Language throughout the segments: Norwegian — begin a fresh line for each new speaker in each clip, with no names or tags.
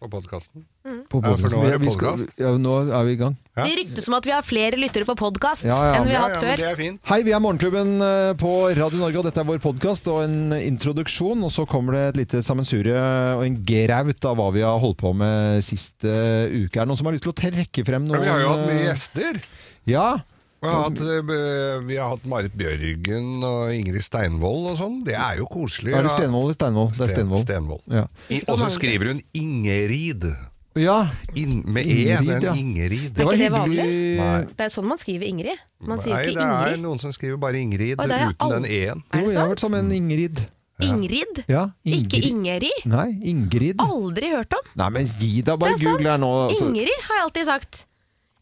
på podkasten.
På
Ja, for
podcasten.
nå er det
Vi- vi skal-
podcast.
Ja, nå er vi i gang.
Ja.
Det ryktes om at vi har flere lyttere på podkast
Ja, ja.
enn vi har hatt
men
før.
det er fint.
Hei, vi er Morgenklubben eh, på Radio Norge, og dette er vår podkast og en introduksjon. Og så kommer det et lite sammensurie og en graut av hva vi har holdt på med siste eh, uke. Er det noen som har lyst til å trekke frem
Ja,
noen Mm.
vi har jo hatt mye
eh,
gjester.
Ja.
Vi har, hatt, eh, vi har hatt Marit Bjørgen og Ingrid Steinvold og sånn. Det er jo koselig.
Er det
ja.
Stenvold eller Steinvold? Det er Stenvold.
Stenvold.
Ja.
I- Og så skriver hun Ingerid.
ja,
In, med E,
Ingerid,
men
ja.
Ingerid.
det
Er
var
ikke det
hyggelig.
Nei.
Det er jo sånn man skriver Ingrid. Man sier jo
Nei, det
ikke
er
Ingrid.
noen som skriver bare Ingrid
Oi, det er jeg
uten den
aldri-
E-en.
Er
Jo, jeg
det
har
sant?
vært sammen med Ingrid.
Ingrid?
Ja,
Ikke Ingrid?
Nei, Ingrid.
Aldri hørt om.
Nei, men gi deg, bare
Det er sant.
google her nå. altså.
Ingrid har jeg alltid sagt.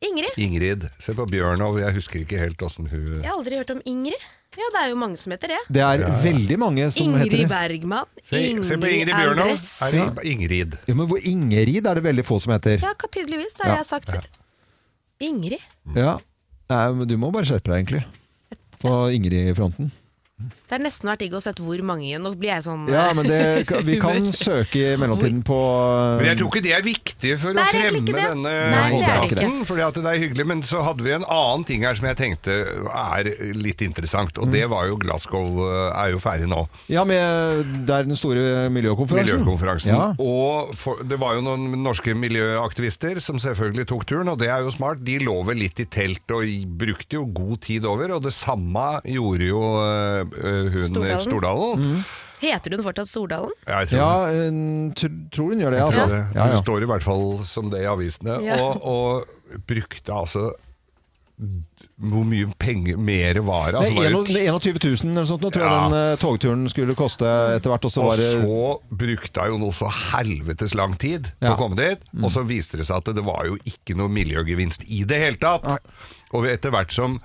Ingrid?
Ingrid. Se på Bjørnov, jeg husker ikke helt åssen hun
Jeg har aldri hørt om Ingrid. Ja, det er jo mange som heter det.
Det er veldig mange som heter
Ingrid
det.
Bergman.
Se, se på Ingrid
Ingrid
Bjørnov.
Andres.
Her er I- Ingrid.
Ja, men hvor Ingerid er det veldig få som heter.
Ja, ka- tydeligvis. Det har
Ja.
jeg sagt. Ingrid?
Ja. Nei, men du må bare skjerpe deg, egentlig. På Ingrid-fronten.
Det har nesten vært digg å sett hvor mange. Nå blir jeg sånn
Ja, men det, vi kan søke i mellomtiden på eh,
Men jeg tror ikke det er viktig for
Det
å
er egentlig ikke
fremme
det.
denne
Nei,
det er det
podkasten, fordi at det er hyggelig. Men så hadde vi en annen ting her som jeg tenkte er litt interessant, og
Mm.
det var jo Glasgow eh, er jo ferdig nå.
Ja, med Det er den store miljøkonferansen.
Miljøkonferansen.
Ja.
Og for, det var jo noen norske miljøaktivister som selvfølgelig tok turen, og det er jo smart. De lå vel litt i telt og i- brukte jo god tid over, og det samme gjorde jo øh, øh, hun
Stordalen.
Stordalen. Stordalen.
eh, Heter hun fortsatt Stordalen?
Ja, jeg
Mm.
tror
Ja,
det.
en- tr- tror hun gjør det, altså.
Så det,
Ja, ja.
det står i hvert fall som det i avisene,
Ja.
og, og brukte altså hvor mye penger mer var det?
Det
Altså, var
er
det
en- det er 21 000 eller sånt, nå tror jeg
Ja.
den eh, togturen skulle koste etter hvert. Og så var
Og
det
så brukte hun jo noe så helvetes lang tid på
Ja. Mm.
å komme dit, og så viste det seg at det var jo ikke noe miljøgevinst i det hele tatt. Og etter hvert som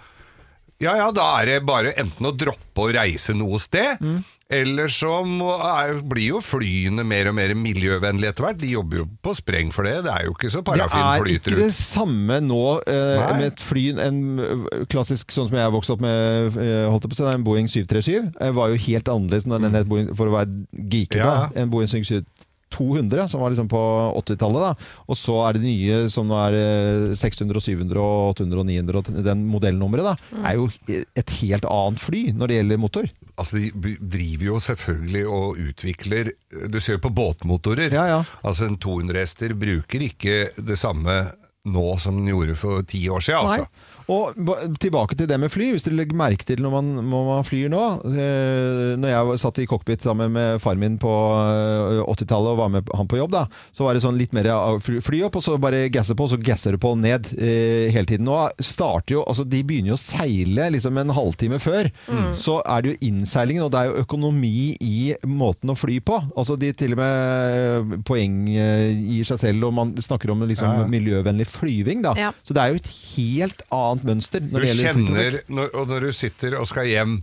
Ja ja, da er det bare enten å droppe å reise noe sted,
Mm.
eller så må, er, blir jo flyene mer og mer miljøvennlige etter hvert. De jobber jo på spreng for det. Det er jo ikke så
det
parafin
er ikke
flyter
det
ut.
samme nå eh,
Nei.
med et fly En eh, klassisk sånn som jeg vokste opp med, eh, holdt jeg på å si, det er en Boeing 737. eh, var jo helt annerledes når den het Boeing, for å være geekete.
Mm. Ja.
En Boeing 737 200, som var liksom på 80-tallet. da Og så er det nye, som nå er eh, 600, og 700, og 800 og 900 og t- den modellnummeret. da
Mm.
Er jo et helt annet fly når det gjelder motor.
Altså, de b- driver jo selvfølgelig og utvikler Du ser jo på båtmotorer.
Ja, ja.
Altså, en 200-hester bruker ikke det samme nå som den gjorde for ti år siden, altså.
Nei. Og ba- tilbake til det med fly. Hvis dere legger merke til når man, når man flyr nå eh, Når jeg var- satt i cockpit sammen med far min på eh, 80-tallet og var med han på jobb, da, så var det sånn litt mer av fly, fly opp, og så bare gasse på, og så gasser du på og ned eh, hele tiden. Nå starter jo altså De begynner jo å seile liksom en halvtime før. Så er det jo innseilingen, og det er jo økonomi i måten å fly på. Altså De til og med eh, poeng eh, gir seg selv, og man snakker om liksom miljøvennlig flyving, da.
Ja.
Så det er jo et helt annet mønster når
Du
det gjelder
kjenner,
flytrafikk.
når, og når du sitter og skal hjem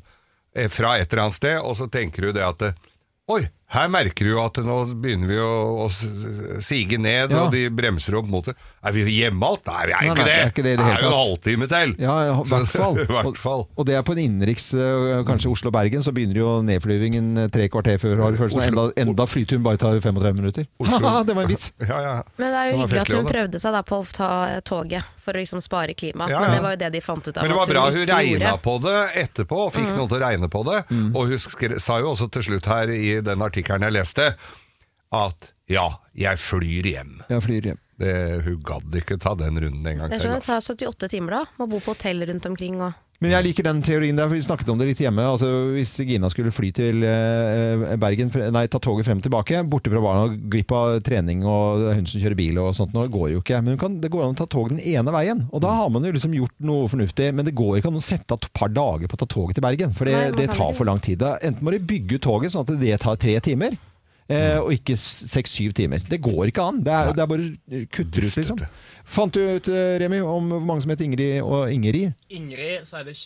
eh, fra et eller annet sted, og så tenker du det at eh, Oi, her merker du at nå begynner vi å, å s- s- sige ned,
Ja.
og de bremser opp mot det. Er vi hjemme alt? Nei, vi er
Nei, nei,
ikke det.
det er ikke det i det hele
jo en
tatt.
halvtime til.
Ja, ja, i hvert fall.
I hvert fall.
Og, og det er på en innenriks, øh, kanskje Oslo-Bergen, så begynner jo nedflyvingen øh, tre kvarter før. Har du følelsen av enda,
Oslo-
enda flyturen bare tar 35 minutter. Haha, det var en vits!
Ja, ja.
Men det er jo
Den var
hyggelig at
festlig
hun
også, da.
prøvde seg da på å ta toget for å liksom spare klimaet.
Ja, ja.
Men det var jo det de fant ut av.
Men det
at
var bra
ikke
hun regna
gjorde.
på det etterpå, og
Mm.
fikk noen til å regne på det. Og hun skre, sa jo også til slutt her i den artikkelen jeg leste, at ja, jeg flyr hjem.
Jeg flyr hjem.
Det, hun gadd ikke ta den runden en gang
Det er
til.
sånn, det
altså.
tar 78 timer da. Må bo på hotell rundt omkring og
Men jeg liker den teorien der, for vi snakket om det litt hjemme. Altså, hvis Gina skulle fly til eh, Bergen, fre- nei, ta toget frem og tilbake, borte fra barna, glipp av trening og det er hun som kjører bil og sånt, nå går det jo ikke. Men hun kan, det går an å ta tog den ene veien, og
Mm.
da har man jo liksom gjort noe fornuftig. Men det går ikke an å sette av et par dager på å ta toget til Bergen, for det,
Nei, man
det
kan
tar
ikke.
for lang tid. Da, enten må de bygge ut toget sånn at det tar tre timer, eh,
Mm.
og ikke seks-syv timer. Det går ikke an. Det er, det er bare kutter ut, liksom.
Dystert, det.
Fant du ut, eh, Remi, om hvor mange som heter Ingrid og Ingrid?
Ingrid, så er det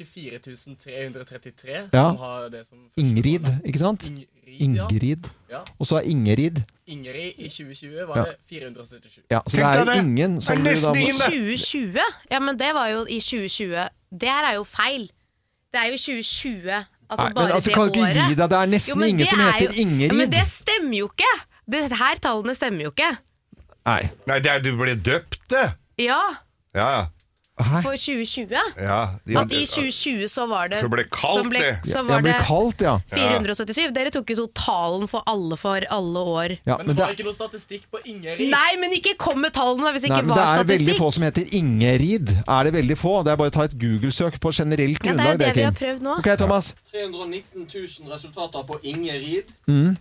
24333
Ja.
som har det som første
Ingrid,
navn.
ikke sant?
Ingrid, ja.
Ingrid.
ja.
Og så er Ingrid.
Ingrid i 2020 var
Ja.
det 477.
Ja, så det
Tenk
er
deg det!
ingen
Det
som
er
du da
nesten
må
ingen! det-
2020? Ja, men det var jo i 2020. Det her er jo feil. Det er jo 2020. Altså
Nei, men
bare
altså,
det
kan du
året.
ikke gi deg? Det er nesten
men
ingen
det
som
er
heter
Jo, ja,
Ingrid.
men det stemmer jo ikke! Det her tallene stemmer jo ikke.
Nei.
Nei, det er, du ble døpt, det!
Ja,
Ja,
Hæ?
for 2020.
ja. De-
At i 2020 så var det
Så ble kaldt,
som ble-
det.
Så
Ja,
var
det
det
blir kaldt, ja.
477. Dere tok jo totalen for alle for alle år.
ja
Men
men
du
det,
har ikke noe statistikk på Ingeri?
Nei, men ikke kom med tallene da, hvis det
nei,
ikke
men det
var
er veldig
statistikk.
få som heter Ingerid. Er det veldig få? Det er bare å ta et Google-søk på generelt
Ja, det er
grunnlag.
jo det vi har
Kim.
prøvd nå.
Ok, Thomas.
319 000 resultater på Ingerid.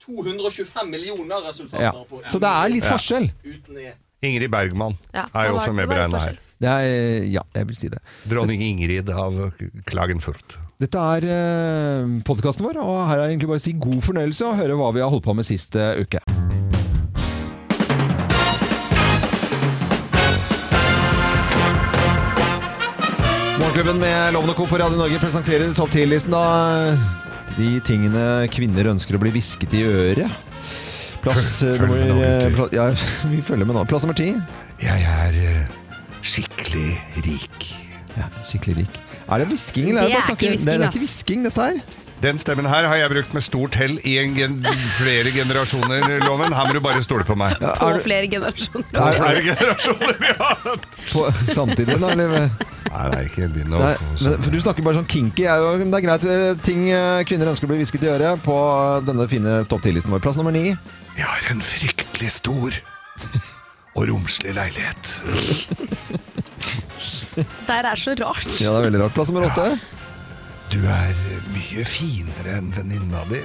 225 millioner resultater
Ja.
på
Så det er litt
Ja.
forskjell.
Uten E.
Ingrid Bergman
Ja,
er
det var-
jo også
det
med
var litt
beregna
forskjell.
her.
Det er, ja, jeg vil si det.
Dronning Ingrid av Klagenfurt.
Dette er eh, podkasten vår, og her er egentlig bare å si god fornøyelse og høre hva vi har holdt på med sist eh, uke. Morgenklubben med Lovende Co. på Radio Norge presenterer topp 10-listen av eh, de tingene kvinner ønsker å bli hvisket i øret. Plass eh,
Følg med
nummer
nå,
eh,
gutter.
pla- Ja, vi følger med nå. Plass nummer ti.
Jeg er eh, skikkelig rik.
Ja, skikkelig rik. Er det hvisking, eller er det
Det
bare
er ikke
snakke? Det er
hvisking,
ikke
ass.
hvisking, dette her.
Den stemmen her har jeg brukt med stort hell i en gen flere generasjoner, Loven. Her må du bare stole på meg.
På flere generasjoner.
Det er flere generasjoner vi har hatt.
På, samtidig, da? Eller?
Nei, nei, ikke begynn å
Nei, men, for du snakker bare sånn kinky. Jeg, er jo- men det er greit. eh, Ting eh, kvinner ønsker å bli hvisket i øret på eh, denne fine topp 10-listen vår. Plass nummer ni.
Jeg har en fryktelig stor og romslig leilighet.
Det her er så rart.
Ja, det er veldig rart. Plass nummer åtte.
Du er mye finere enn venninna di.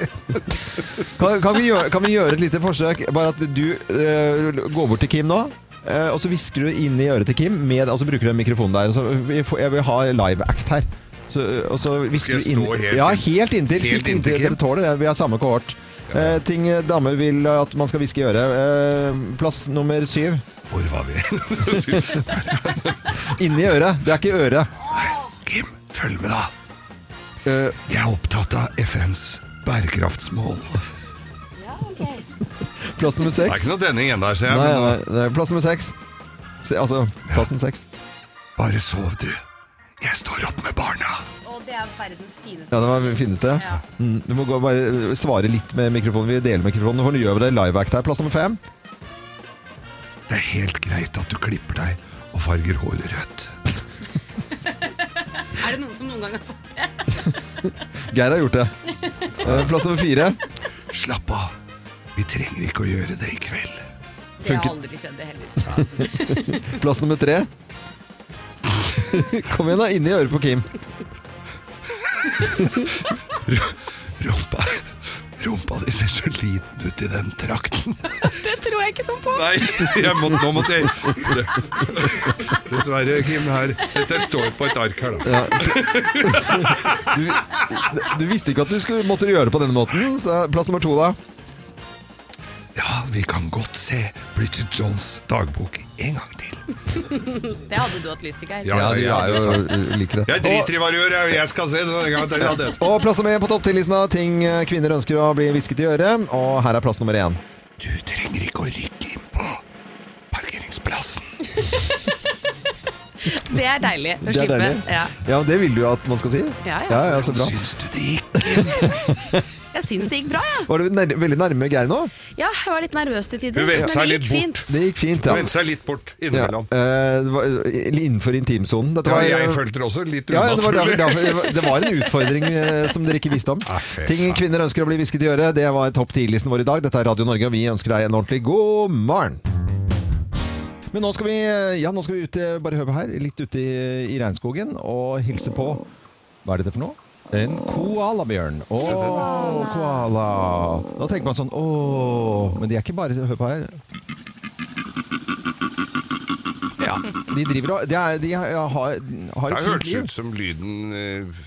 Kan, kan, vi gjøre, kan vi gjøre et lite forsøk? Bare at du eh, går bort til Kim nå. eh, og så hvisker du inn i øret til Kim, med, og så bruker du den mikrofonen der. Og så, vi får- jeg vil ha live act her. Så, eh, og så hvisker
Skal
du
jeg
inn
stå helt
Ja,
inn-
helt inntil.
helt
Sitt
inntil
inntil.
Kim?
Dere tåler det. Vi har samme kohort. Eh, ting eh, damer vil at man skal hviske i øret. Eh, plass nummer syv.
Hvor var vi?
Inni øret. Det er ikke øret.
Kim, følg med, da.
Eh,
Jeg er opptatt av FNs bærekraftsmål.
plass nummer
Det er
seks.
ikke noe denne igjen der, ser jeg.
Nei,
men-
nei, nei, plass nummer seks. Se, altså, plassen seks.
Bare sov, du. Jeg står opp med barna.
Og det er verdens fineste.
Ja, det var det fineste.
Ja.
Mm, du må gå, bare øh, svare litt med mikrofonen. Vi deler mikrofonen. Nå får du gjøre det live act her. Plass nummer fem.
Det er helt greit at du klipper deg og farger håret rødt.
Er det noen som noen gang har sagt
Geir har gjort det. Eh, Plass nummer fire.
Slapp av. Vi trenger ikke å gjøre det i kveld.
det?
Funket.
aldri skjedd, det heller.
Plass nummer tre. Kom igjen, da. Inni øret på Kim.
Rumpa Rumpa di ser så liten ut i den trakten.
Det tror jeg ikke noe på.
Nei, jeg må, nå måtte jeg Dessverre, Kim. her Dette står på et ark her, da.
Du, du visste ikke at du skulle, måtte gjøre det på denne måten. Så plass nummer to, da.
Ja, vi kan godt se Bridget Jones' dagbok en gang til.
Det hadde du hatt lyst til, Geir.
Ja,
Ja, ja,
du
ja,
er jo, øh, liker det.
Jeg driter i hva du gjør, jeg, jeg skal se det. en gang til. Ja, det.
Og plass nummer én på topp 10-listen av ting eh, kvinner ønsker å bli hvisket i øret. Og her er plass nummer én.
Du trenger ikke å rykke inn på parkeringsplassen.
Det er deilig å
Det er
slippe.
deilig.
Ja.
Ja, det vil du jo at man skal si.
Ja, ja.
ja, så bra.
Syns du det gikk?
Jeg syns det gikk bra, jeg.
Var du nær, veldig nærme Geir nå?
Ja. jeg var litt nervøs til tider,
Hun vendte
men
seg
det
litt
gikk
bort.
fint.
Det gikk fint, ja.
Vente seg litt bort
ja.
innimellom.
eh, det var, eh, innenfor intimsonen. Dette
Ja,
var,
jeg følte det også litt
ja, ja, det, var derfor,
unaturlig.
derfor, det var- det var en utfordring eh, som dere ikke visste om.
Ah, fy
Ting
faen.
kvinner ønsker å bli hvisket i øret, det var topp 10-listen vår i dag. Dette er Radio Norge, og vi ønsker deg en ordentlig god morgen. Men nå skal vi, eh, ja, nå skal vi ut, eh, bare høre på her, litt ute i, i regnskogen og hilse på Hva er dette for noe? En koalabjørn. Å, koala. Da tenker man sånn åh Men de er ikke bare Hør på her. Ja. De driver og De, er, de har, har
Det
et
har
fint
hørtes
liv.
ut som lyden eh,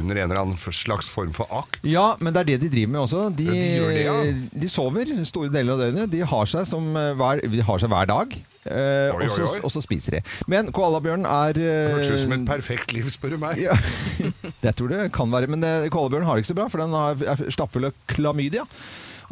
under en eller annen slags form for akt.
Ja, men det er det de driver med også. De,
Ja, de gjør det, ja.
de sover store deler av døgnet. De har seg, som eh, hver, de har seg hver dag. eh,
Oi,
og så-
oi, oi.
Og så spiser de. Men koalabjørnen er eh,
Hørtes ut som et perfekt liv, spør du meg.
ja, det tror jeg det kan være. Men eh, koalabjørnen har det ikke så bra, for den har- er stappfull av klamydia.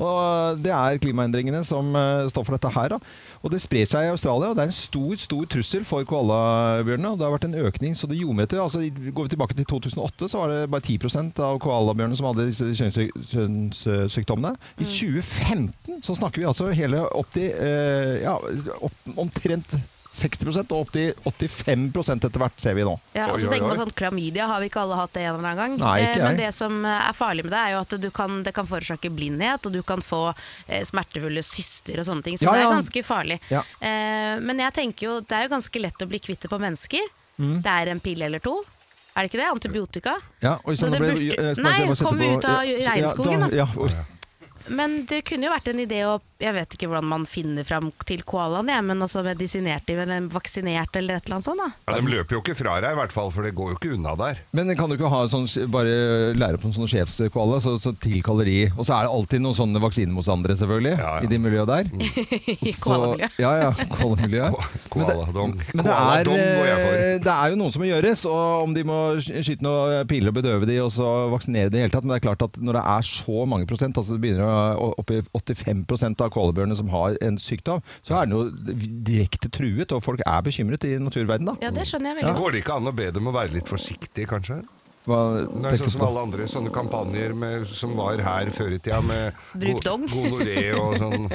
Og det er klimaendringene som eh, står for dette her. Da. Og det sprer seg i Australia, og det er en stor stor trussel for koalabjørnene. Og det har vært en økning, så det ljomer etter. Altså, i- går vi tilbake til 2008, så var det bare 10 av koalabjørnene som hadde disse kjønnssy- kjønnssykdommene. I 2015 så snakker vi altså hele opp til eh, ja, opp, omtrent 60 og opp til 85 etter hvert, ser vi nå.
Ja, og
Oi,
så
oi,
tenker man
oi.
sånn, Klamydia har vi ikke alle hatt det en eller annen gang.
Nei, ikke
Eh, Men
jeg.
det som eh, er farlig med det, er jo at du kan, det kan forårsake blindhet, og du kan få eh, smertefulle syster og sånne ting. Så
Ja,
det er
ja.
ganske farlig.
Ja.
Eh, men jeg tenker jo, det er jo ganske lett å bli kvitt det på mennesker. Det er en pille eller to. Er det ikke det? Antibiotika.
Ja, og
Men det burde-
jeg skal bare
Nei,
se hva jeg setter
kom
på-
ut av
Ja, så-
regnskogen, da.
Ja, da ja,
Men det kunne jo vært en idé å Jeg vet ikke hvordan man finner fram til koalaen, jeg, men også medisinert dem eller vaksinert eller et eller annet sånt. da.
Ja, de løper jo ikke fra deg i hvert fall, for det går jo ikke unna der.
Men kan du ikke ha sånn, bare lære opp en sånn sjefskvale, så, så tilkaller de Og så er det alltid noen sånne vaksinemotstandere, selvfølgelig,
Ja, ja.
i det miljøet der.
I
Så-
koalamiljøet.
Ja, ja. koalamiljøet. Men det-
Koaladong.
Men det er,
Koaladong går jeg for.
eh, det er jo noe som må gjøres, og om de må sk- skyte noen piler og bedøve de, og så vaksinere de i det hele tatt, men det er klart at når det er så mange prosent, altså det begynner å opp i 85 av koalabjørnene som har en sykdom, så er den jo direkte truet, og folk er bekymret i naturverdenen da.
Ja, det skjønner jeg veldig
Men
godt.
Går det ikke an å be dem å være litt forsiktige, kanskje?
Hva
Nei,
tenker
sånn
du
som
på?
alle andre sånne kampanjer med, som var her før i tida, med
Bruk dong.
gonoré og sånn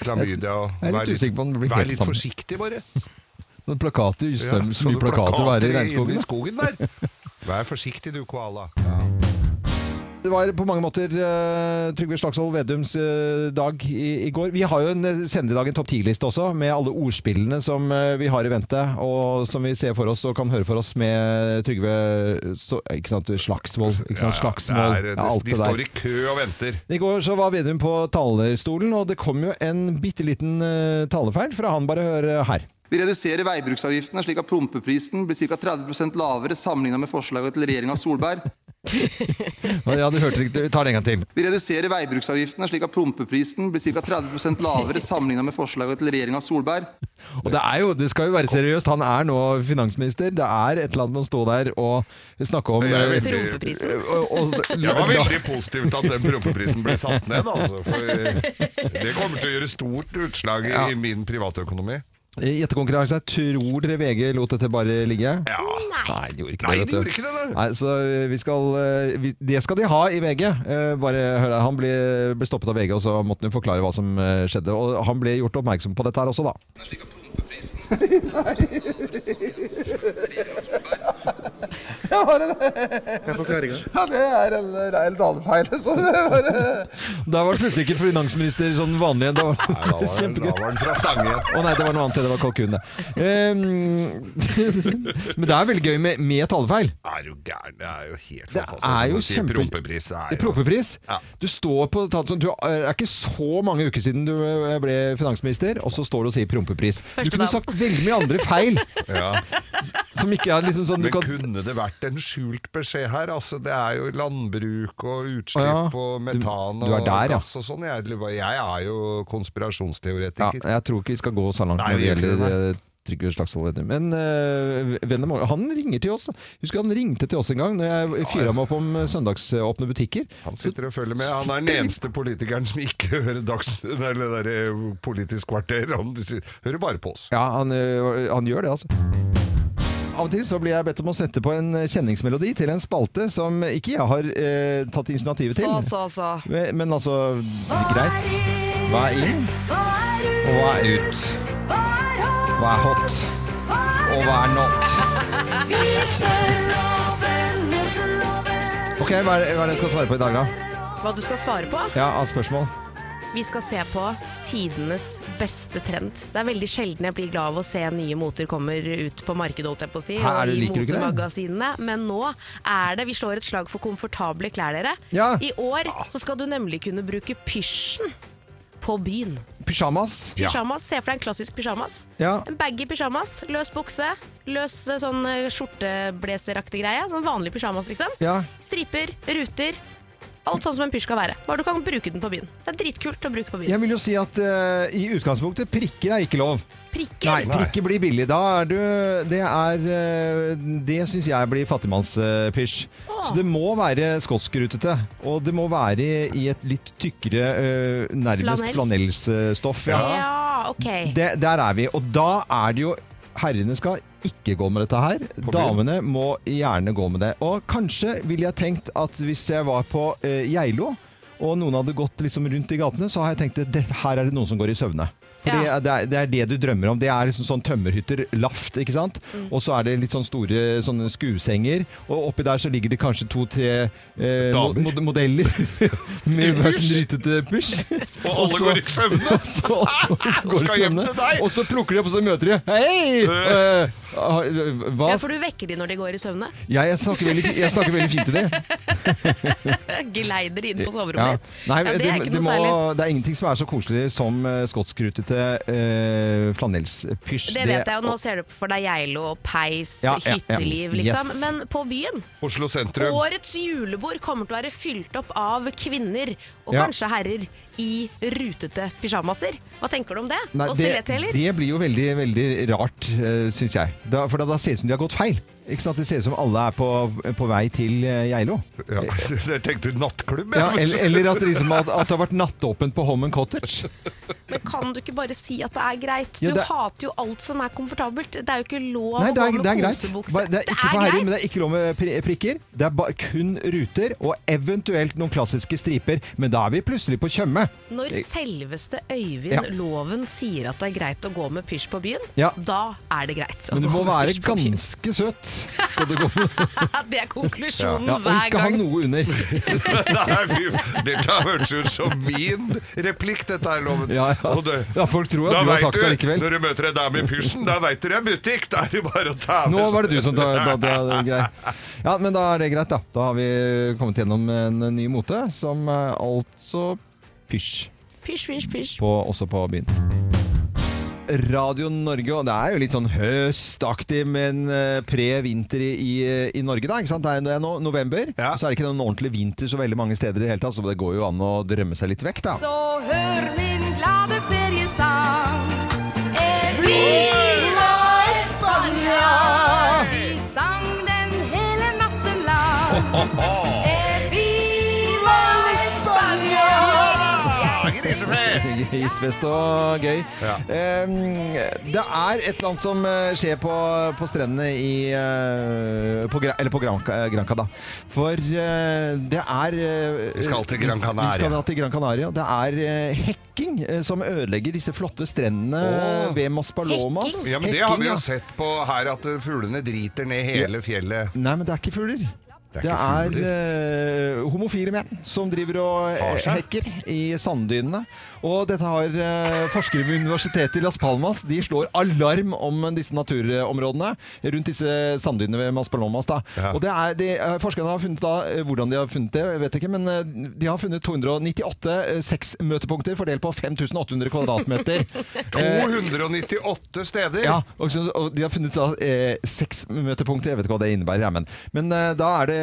klamydia og
Jeg er litt
vær
usikker på om det blir
Vær
helt
litt
sammen.
forsiktig, bare.
Noen plakater, så,
Ja,
så mye
sånne
plakater å være i
inne
regnskogen. da.
skogen der. Vær forsiktig, du koala.
Det var på mange måter eh, Trygve Slagsvold Vedums eh, dag i, i går. Vi har jo en eh, senere i dag en topp 10-liste også, med alle ordspillene som eh, vi har i vente, og som vi ser for oss og kan høre for oss med Trygve så, eh, Ikke sant, Slagsvold. Ikke sant, slagsmål.
det er, eh,
ja, alt
de
det der.
står i kø og venter.
I går så var Vedum på talerstolen, og det kom jo en bitte liten eh, talefeil fra han. Bare hør eh, her.
Vi reduserer veibruksavgiftene slik at prompeprisen blir ca. 30 lavere sammenlignet med forslaget til regjeringa Solberg.
Ja, du hørte det ikke. Vi tar det en gang til.
Vi reduserer veibruksavgiftene slik at prompeprisen blir ca. 30 lavere sammenlignet med forslaget til regjeringa Solberg.
Og det, er jo, det skal jo være seriøst. Han er nå finansminister. Det er et eller annet med å stå der og snakke om
Jeg er
eh,
veldig-
Prompeprisen.
og, og,
Det var veldig positivt at den prompeprisen ble satt ned, altså. For eh, det kommer til å gjøre stort utslag i,
Ja.
i min privatøkonomi.
Gjettekonkurranse. Tror dere VG lot dette bare ligge?
Ja.
Nei, de gjorde ikke
Nei,
det.
de
vet du.
gjorde ikke det, nei.
Nei, så eh, vi skal, eh, vi, det skal de ha i VG. Eh, Bare hør her, Han ble, ble stoppet av VG, og så måtte han jo forklare hva som eh, skjedde. Og han ble gjort oppmerksom på dette her også, da.
Ja, det er en reil talefeil.
Da var det plutselig ikke finansminister sånn vanlig. Da var
Nei, da var den- da var den fra stangen igjen.
Å nei, det var noe annet. Det var kalkun, det. Ehm, men det er veldig gøy med, med talefeil.
Er du gæren? Det er jo helt
Det
fantastisk.
er jo
Som du sier,
kjempe...
Prompepris det er jo
Prompepris.
Ja.
Du står på talefeil du, eh, Det er ikke så mange uker siden du eh, ble finansminister, og så står du og sier prompepris. Du
Første
kunne
dagen.
sagt veldig mye andre feil
ja.
som ikke er liksom sånn du
Men
kan
kunne det vært en skjult beskjed her? Altså, det er jo landbruk og utslipp
Å ja.
og
Du-
metan
du er der,
og
ja.
gass og sånn. Jeg, lurer på- jeg er jo
ja,
konspirasjonsteoretiker.
Jeg tror ikke vi skal gå så langt
Nei,
når det
vi gjør ikke
gjelder
det,
eh, Trygve Slagsvold Vedum. Men uh, vennen vår, han ringer til oss. Husker han ringte til oss en gang når jeg fyra meg opp om eh, søndagsåpne butikker.
Han sitter og følger med. Han er den eneste politikeren som ikke hører dags, eller det der, eh, Politisk kvarter. Han hører bare på oss.
Ja, han, ø, han gjør det, altså. Av og til så blir jeg bedt om å sette på en kjenningsmelodi til en spalte som ikke jeg har eh, tatt initiativet til.
Så, så, så.
Men, men altså, greit. Hva er inn,
Hva er ut?
og hva er ut?
Hva er hot?
Hva er
Hva er
hot, og hva er not?
Vi spør loven mot loven.
Ok, hva er, det- hva er det jeg skal svare på i dag, da?
Hva du skal svare på?
Ja, av spørsmål.
Vi skal se på tidenes beste trend. Det er veldig sjelden jeg blir glad av å se nye moter kommer ut på markedet, holdt jeg på å si.
Hæ, er
og
det-
i
liker du ikke det?
motemagasinene. Men nå er det Vi slår et slag for komfortable klær, dere.
Ja.
I år så skal du nemlig kunne bruke pysjen på byen.
Pysjamas.
Ja.
Pyjamas, Se for deg en klassisk pysjamas.
Ja.
En baggy pysjamas, løs bukse, løs eh, sånn eh, skjorteblazeraktig greie. Sånn vanlig pysjamas, liksom.
Ja.
Striper, ruter. Alt sånn som en pysj skal være. Bare du kan bruke den på byen. Det er dritkult å bruke på byen.
Jeg vil jo si at eh, i utgangspunktet prikker er ikke lov.
Prikker.
Nei, prikker blir billig. Da er du Det er eh, Det syns jeg blir fattigmannspysj. Så det må være skotskgrutete. Og det må være i et litt tykkere, eh, nærmest
Flanell.
flanellsstoff.
Ja,
Ja.
ok.
Det, der er vi. Og da er det jo Herrene skal ikke gå med dette her. Damene må gjerne gå med det. Og kanskje ville jeg tenkt at hvis jeg var på eh, Geilo, og noen hadde gått liksom rundt i gatene, så har jeg tenkt at det, her er det noen som går i søvne. Fordi
Ja.
det, er, det er det du drømmer om. Det er liksom sånn tømmerhytter, laft, ikke sant?
Mm.
Og så er det litt sånn store sånne skuesenger, og oppi der så ligger det kanskje to-tre eh,
Damer.
mod modeller med hver sin rytete pysj.
Og alle går i søvne!
Og så, og så går
Skal
de
hjem
sammen,
til deg.
Og så plukker de opp, og så møter de Hei! Eh, har- hva?
Ja, for du vekker de når de går i søvne.
Ja, jeg, snakker veldig, fi- jeg snakker veldig fint til dem.
Geleider inn på
Ja.
soverommet ditt.
Nei,
Ja,
det,
det er
det,
ikke noe
må,
særlig.
det er ingenting som er så koselig som uh, skotskkrutete eh, flanellspysj.
Det vet jeg, og nå ser du for deg Geilo og peis,
Ja, ja, ja.
hytteliv, liksom.
Yes.
Men på byen
Oslo sentrum.
Årets julebord kommer til å være fylt opp av kvinner, og
Ja.
kanskje herrer, i rutete pysjamaser. Hva tenker du om det?
Nei,
og
det,
stilettheler?
det blir jo veldig, veldig rart, uh, syns jeg. Da, for da, da ser det ut som de har gått feil. Ikke sant? Det ser ut som alle er på, på vei til eh, Geilo.
Ja. Jeg tenkte nattklubb. jeg.
Ja, eller, eller at, det liksom, at, at det har vært nattåpent på Holmen Cottage.
Men kan du ikke bare si at det er greit?
Jo,
Du
det-
hater jo alt som er komfortabelt. Det er jo ikke lov
Nei, det
å
er,
gå
det er
med
greit.
kosebukse.
Bare- Det er ikke for herrer, men det er ikke lov med pri- prikker. Det er ba kun ruter, og eventuelt noen klassiske striper. Men da er vi plutselig på Tjøme.
Når selveste Øyvind
Ja.
Loven sier at det er greit å gå med pysj på byen,
Ja.
da er det greit. å
Men du
gå
må
med
være
pysj på byen.
ganske søt. Skal du gå med.
Det er konklusjonen
Ja, og
hver
ikke ha
gang.
noe under.
Nei, fy, dette hørtes ut som min replikk, dette her, Loven.
Ja, ja.
Og det-
ja folk tror at
Da
du har
vet
sagt det
Når
likevel.
du møter ei dame i pysjen, da veit du det er butikk! Da er det bare å ta
Nå var det du som tar blant det grei. Ja, men da er det greit, da. Da har vi kommet gjennom en ny mote, som er altså pysj.
Pysj, pysj, pysj.
på, også på byen. Radio Norge, og det er jo litt sånn høstaktig, men eh, pre-vinter i, i, i Norge da, ikke sant? Det er jo- det er nå november,
Ja.
så er det ikke noen ordentlig vinter så veldig mange steder i det hele tatt, så det går jo an å drømme seg litt vekk da.
Så hør min glade feriesang. Eh, Viva Spania! Vi sang den hele natten lang. Eh, Viva Spania!
Grisefest!
Isfest og gøy.
Ja.
Em, det er et eller annet som eh, skjer på, på strendene i eh, på, Gra- Eller på Granca, eh, Granca da. For eh, det er eh,
Vi skal til Gran Canaria.
Vi skal da til Gran Canaria. Det er eh, hekking eh, som ødelegger disse flotte strendene
Åh.
ved Maspalomas.
Ja, men det har vi
Hekking,
jo
ja.
sett på her, at eh, fuglene driter ned hele fjellet.
Nei, men det er ikke fugler.
Det
Det
er ikke
er,
fugler.
eh, homofile menn som driver og eh,
Har seg.
hekker i sanddynene. Og dette har eh, forskere ved universitetet i Las Palmas. De slår alarm om disse naturområdene rundt disse sanddynene ved Mas Palomas. Da.
Ja.
Og det er, de, eh, forskerne har funnet da, eh, hvordan de har funnet det, jeg vet ikke, men eh, de har funnet 298 eh, sexmøtepunkter fordelt på 5800 kvadratmeter. Eh,
298 steder!
ja, og, så- og de har funnet da, eh, seks møtepunkter. Jeg vet ikke hva det innebærer, jeg, men, men eh, da er det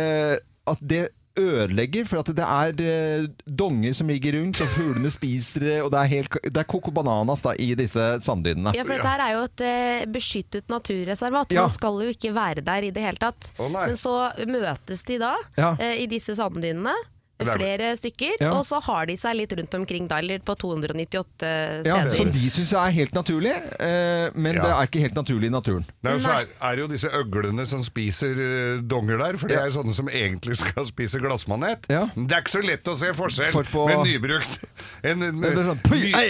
at det ødelegger, for at det er eh, donger som ligger rundt, og fuglene spiser det, og det er, helt, det er coco bananas da, i disse sanddynene.
Ja, for dette her er jo et eh, beskyttet naturreservat.
Ja.
Man skal jo ikke være der i det hele tatt.
Å, nei.
Men så møtes de da
Ja.
eh, i disse sanddynene.
Det er-
Flere stykker,
Ja.
og så har de seg litt rundt omkring da, eller på 298 steder.
Ja, som de syns er helt naturlig, eh, men
Ja.
det er ikke helt naturlig i naturen.
Det er jo, så er, er jo disse øglene som spiser eh, donger der, for det er jo sånne som egentlig skal spise glassmanet.
Ja.
Men Det er ikke så lett å se forskjell
Folk på-
med nybrukt en, en,
Det er sånn, «Pui, ei,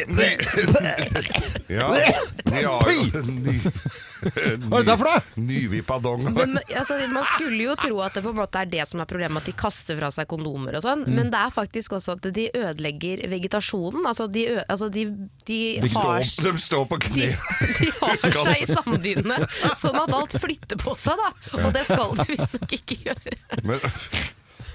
Ja, de har jo
Pui!»
ny,
Hva er dette for noe?
Nyvippa dong.
Men, altså, man skulle jo tro at det på en måte er det som er problemet, at de kaster fra seg kondomer og sånn, men det er faktisk også at de ødelegger vegetasjonen. Altså, de, ø altså, de, de,
De
har
står, de står på
de,
kne.
de har seg i sanddynene, sånn at alt flytter på seg, da. Og det skal de visstnok ikke gjøre.
Men,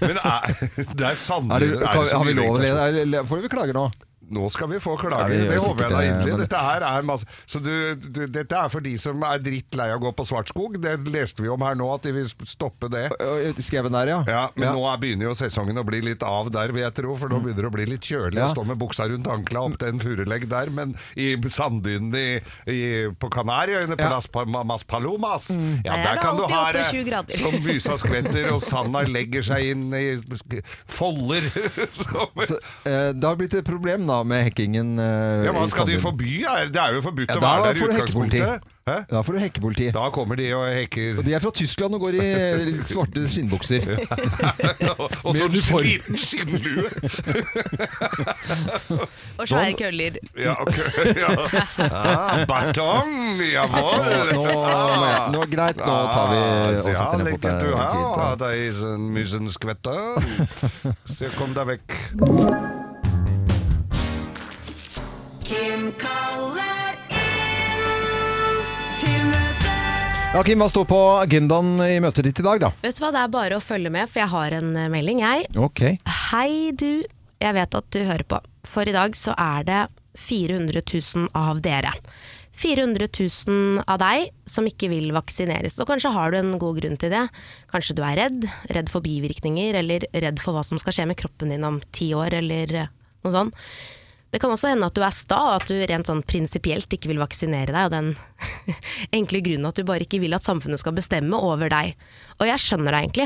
men er, det er
Er
sannelig
det, kan, har vi lov å le? er det- Får vi klage nå?
Nå skal vi få
Ja,
klager,
vi gjør
det
sikkert
håper jeg da
det,
inderlig.
men-
Dette, her er masse, så du, du, dette er for de som er drittlei av å gå på Svartskog. Det leste vi om her nå, at de vil stoppe det.
Ø, ø, Skreven Eh, der, ja. Mm.
Ja, Men nå er, begynner jo sesongen å bli litt av der, vil jeg tro. For nå begynner det å bli litt kjølig
Ja.
å stå med buksa rundt ankla opp til en furulegg der. Men i sanddynene i- i- på Kanariøyene, på
Ja. Mm.
Las Pa- Mas Palomas, ja,
Der er
der
det
kan du
alltid
ha det
28 grader.
som mysa skvetter, og sanda legger seg inn i sk- folder. som,
Så, ø, Eh, det har blitt et problem da med hekkingen. ø,
ja, hva
i
skal de
Sandviken.
forby? Er- Det er jo forbudt
Ja, da
å være der i
får du hekkepoliti.
utgangspunktet. Hæ?
Da får du hekkepoliti.
Da kommer de og hekker.
Og de er fra Tyskland og går i svarte skinnbukser.
og så
med
en
uniform.
liten skinnlue!
Og svære køller.
Ja, ok. Ja. Ah, batong! Jawohl!
Nå, nå, må jeg- nå greit, nå
Ah.
tar vi og setter ned foten.
Ja, legger du
Det er
her
fint,
og
ja.
har deg i sånn mysen skvetter. Så kom deg vekk.
Kim kaller inn til møte.
Ja, Kim, hva står på agendaen i møtet ditt i dag, da?
Vet du hva, det er bare å følge med, for jeg har en eh, melding, jeg.
Ok.
Hei du, jeg vet at du hører på. For i dag så er det 400 000 av dere. 400 000 av deg som ikke vil vaksineres. Og kanskje har du en god grunn til det. Kanskje du er redd. Redd for bivirkninger, eller redd for hva som skal skje med kroppen din om ti år, eller eh, noe sånt. Det kan også hende at du er sta, og at du rent sånn prinsipielt ikke vil vaksinere deg, av den enkle grunnen at du bare ikke vil at samfunnet skal bestemme over deg. Og jeg skjønner deg egentlig.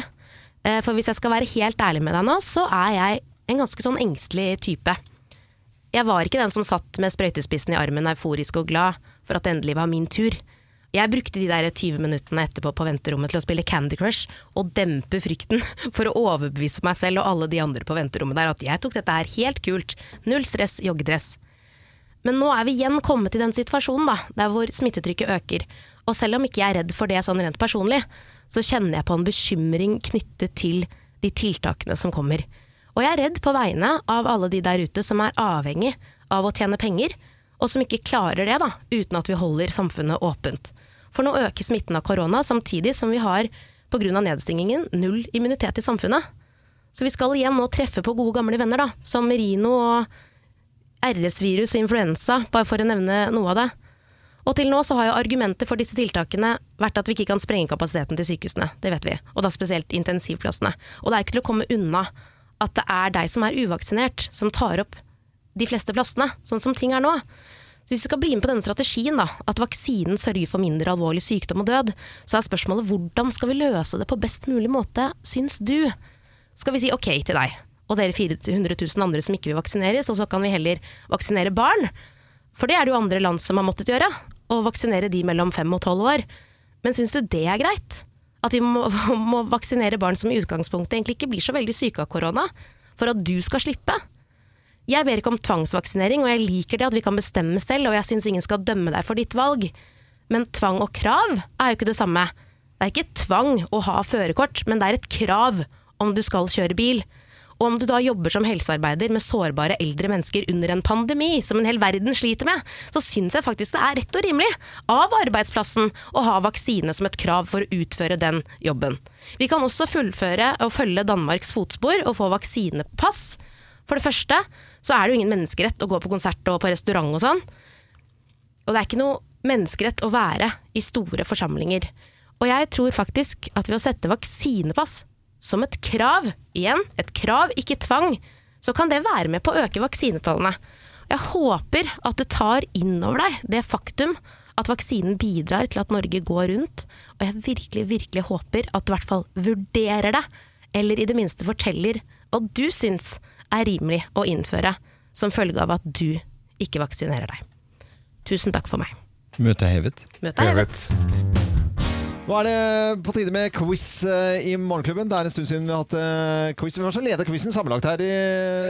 Eh, For hvis jeg skal være helt ærlig med deg nå, så er jeg en ganske sånn engstelig type. Jeg var ikke den som satt med sprøytespissen i armen euforisk og glad for at det endelig var min tur. Jeg brukte de der 20 minuttene etterpå på venterommet til å spille Candy Crush og dempe frykten for å overbevise meg selv og alle de andre på venterommet der at jeg tok dette her helt kult. Null stress, joggedress. Men nå er vi igjen kommet i den situasjonen da, der hvor smittetrykket øker. Og selv om ikke jeg er redd for det sånn rent personlig, så kjenner jeg på en bekymring knyttet til de tiltakene som kommer. Og jeg er redd på vegne av alle de der ute som er avhengig av å tjene penger, og som ikke klarer det da, uten at vi holder samfunnet åpent. For nå øker smitten av korona, samtidig som vi har, pga. nedstengingen, null immunitet i samfunnet. Så vi skal igjen nå treffe på gode gamle venner, da, som Merino og RS-virus og influensa, bare for å nevne noe av det. Og til nå så har jo argumentet for disse tiltakene vært at vi ikke kan sprenge kapasiteten til sykehusene, det vet vi, og da spesielt intensivplassene. Og det er ikke til å komme unna at det er deg som er uvaksinert som tar opp de fleste plassene, sånn som ting er nå. Så hvis vi skal bli med på denne strategien, da, at vaksinen sørger for mindre alvorlig sykdom og død, så er spørsmålet hvordan skal vi løse det på best mulig måte, syns du? skal vi si ok til deg og dere 400 000 andre som ikke vil vaksineres, og så kan vi heller vaksinere barn. For det er det jo andre land som har måttet gjøre, å vaksinere de mellom 5 og 12 år. Men syns du det er greit? At vi må, må vaksinere barn som i utgangspunktet egentlig ikke blir så veldig syke av korona, for at du skal slippe? Jeg ber ikke om tvangsvaksinering, og jeg liker det at vi kan bestemme selv, og jeg syns ingen skal dømme deg for ditt valg. Men tvang og krav er jo ikke det samme. Det er ikke tvang å ha førerkort, men det er et krav om du skal kjøre bil. Og om du da jobber som helsearbeider med sårbare eldre mennesker under en pandemi, som en hel verden sliter med, så syns jeg faktisk det er rett og rimelig av arbeidsplassen å ha vaksine som et krav for å utføre den jobben. Vi kan også fullføre og følge Danmarks fotspor og få vaksinepass. For det første så er det jo ingen menneskerett å gå på konsert og på restaurant og sånn. Og det er ikke noe menneskerett å være i store forsamlinger. Og jeg tror faktisk at ved å sette vaksinepass som et krav, igjen, et krav, ikke tvang, så kan det være med på å øke vaksinetallene. Jeg håper at du tar inn over deg det faktum at vaksinen bidrar til at Norge går rundt, og jeg virkelig, virkelig håper at du i hvert fall vurderer det, eller i det minste forteller hva du syns er rimelig å innføre som følge av at du ikke vaksinerer deg. Tusen takk for meg.
Møtet er hevet.
Møtet er hevet.
Nå er det på tide med quiz eh, i Morgenklubben. Det er en stund siden vi har hatt eh, quiz. Hvem er det som leder quizen sammenlagt her? I,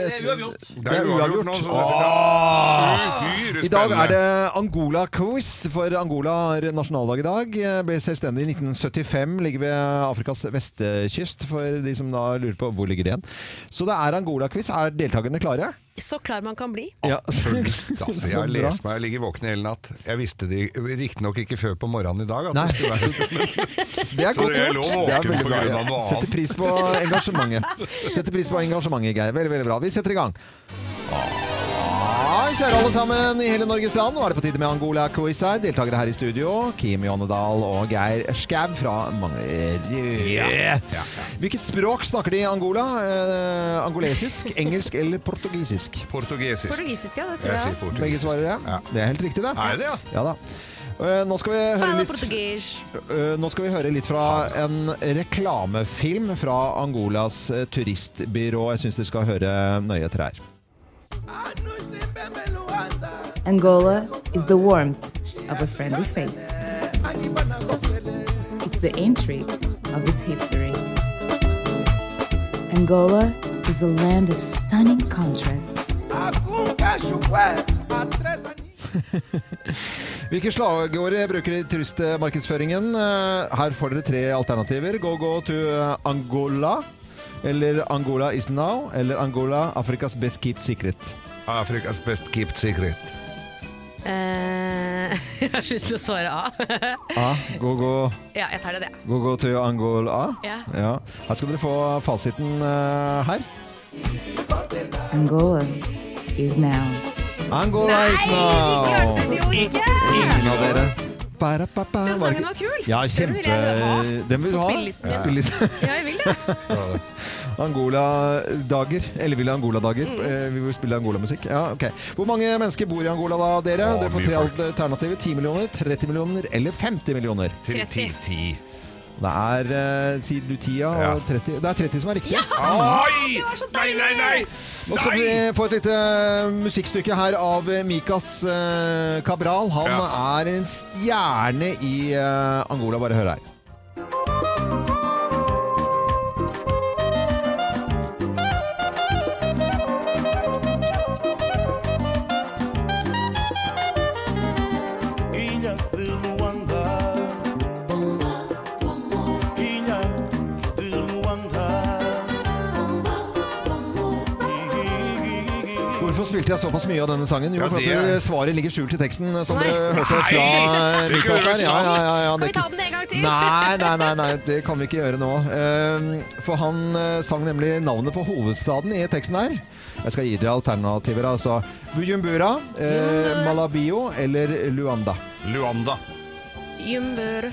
Det er uavgjort.
Det er uavgjort nå, så dette er uhyre
I dag er
spennende.
det Angola-quiz, for Angola har nasjonaldag i dag. Eh, Ble selvstendig i 1975, ligger ved Afrikas vestkyst, for de som da lurer på hvor ligger det igjen. Så det er Angola-quiz. Er deltakerne klare?
Så klar man kan bli.
Ja.
Altså,
Så
jeg har
bra.
lest meg, jeg ligger våken i hele natt. Jeg visste det riktignok ikke før på morgenen i dag. At
Nei.
det skulle være så
Så det er
Så
godt
det er lov å
gjort. Det er
våkne
veldig
på
bra.
grunn av noe annet.
Setter pris på engasjementet. Setter pris på engasjementet, Geir. Veldig, veldig bra. Vi setter i gang. Ah, Hei, kjære alle sammen i hele Norges land. Nå er det på tide med Angola-quiz her. Deltakere her i studio, Kim Johanne Dahl og Geir Skau fra Mangerud. Hvilket språk snakker de i Angola? Eh, angolesisk, engelsk eller portugisisk?
Portugisisk.
Portugisisk, ja. Det tror
Jeg
jeg.
sier
også.
portugisisk.
Begge svarer ja.
Ja.
Det er helt riktig, det.
Er det, ja?
Ja da. Eh, Nå skal, vi høre
Fala
litt,
português.
eh, nå skal vi høre litt fra en reklamefilm fra Angolas eh, turistbyrå. Jeg syns dere skal høre nøye etter her.
Angola is the warmth of a friendly face. It's the intrigue of its history. Angola is a land of stunning contrasts.
Hvilke slagord bruker de i turistmarkedsføringen? Eh, Her får dere tre alternativer. Go go to Angola. Eller Angola is now. Eller Angola Afrikas best kept secret.
Afrikas best kept secret.
Eh, jeg har så lyst til å svare A.
A. Go go,
ja, jeg tar det, det.
go, go to Angola.
Ja.
Her skal dere få fasiten eh, her.
Angola is now.
Angola is now!
klarte det jo ikke!
Ingen av dere. Ba, ba, ba,
Den sangen var kul.
Ja,
Den vil
kjempe...
jeg ha
Den vil du
på
ha.
spillelisten min.
Spillelisten.
Ja, jeg vil det.
Angola-dager. Elleville Angola-dager.
Mm.
Eh, Vi vil spille Angola-musikk. Ja, ok. Hvor mange mennesker bor i Angola da, dere?
Å,
dere får
mye
tre
folk.
alternativer. 10 millioner, 30 millioner eller 50 millioner.
Til
30.
10-10.
Det er eh, sier du 10 ja, og 30 Det er 30 som er riktig.
Oi! Nei, nei, nei!
Nå skal vi få et lite eh, musikkstykke her av Mikas eh, Cabral. Han
Ja.
er en stjerne i eh, Angola. Bare hør her.
Ilha de Luanda. Ilha de Luanda.
Hvorfor spilte jeg såpass mye av denne sangen? Jo,
Ja,
for at
det er-
eh, svaret ligger skjult i teksten, eh, som
Nei.
dere hørte fra eh,
Nei, det er ikke
Mikas her. Ja, ja, ja, ja,
Kan vi
det er
ta
ikke-
den en gang til?
Nei, nei, nei, nei, det kan vi ikke gjøre nå. Eh, For han eh, sang nemlig navnet på hovedstaden i teksten her. Jeg skal gi dere alternativer, altså. Bujumbura, eh, Malabio eller Luanda.
Luanda.
Jumbur.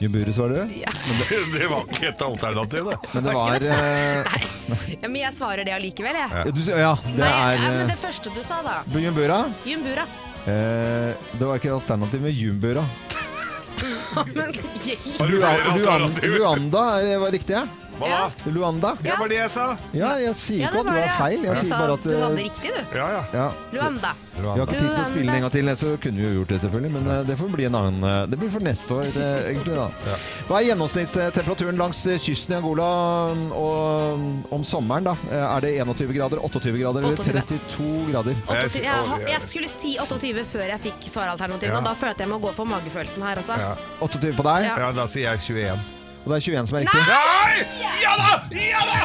Jumburu, svarer du?
Det var ikke et alternativ, det.
Men det var eh,
Ja, men jeg svarer det allikevel, jeg.
Ja.
du, Ja, det
Nei, ja,
er
men
eh,
det første du sa, da.
Bujumbura.
Jumbura.
Eh, Det var ikke alternativ med Jumbura.
Men
Har du
Lua-
flere
Luan-
alternativer?
Luanda er- var riktig, ja.
Hva da?
Luanda.
Det var det jeg sa.
Ja, jeg sier ikke at du har feil. Jeg sier bare at
Du hadde
eh,
riktig, du.
Ja, ja.
ja.
Luanda.
Vi har ikke tid til å spille den en gang til, så kunne vi jo gjort det, selvfølgelig. Men eh, det får bli en annen eh, Det blir for neste år, eh, egentlig. da Hva er gjennomsnittstemperaturen langs eh, kysten i Angola mm, og mm, om sommeren? da? Eh, Er det 21 grader, 28 grader eller
28.
32 grader?
28, jeg, jeg skulle si 28 før jeg fikk svaralternativene, og
Ja.
da følte jeg med å gå for magefølelsen her, altså.
Ja.
28 på deg,
Ja.
Ja, da sier jeg 21.
og det er 21 som er riktig.
Nei! Ja da! Ja da!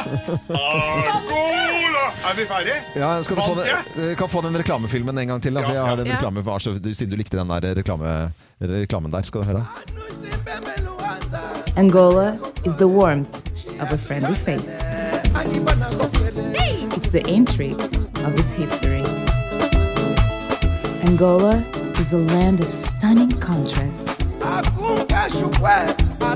Angola! Er vi ferdige?
Ja, skal du få
Vant
den, eh, kan få den reklamefilmen en gang til, da, for
Ja,
jeg har den
ja.
reklame, siden du likte den der eh, reklame, reklamen der. Skal du høre.
Angola is the warmth of a friendly face. It's the intrigue of its history. Angola is a land of stunning contrasts.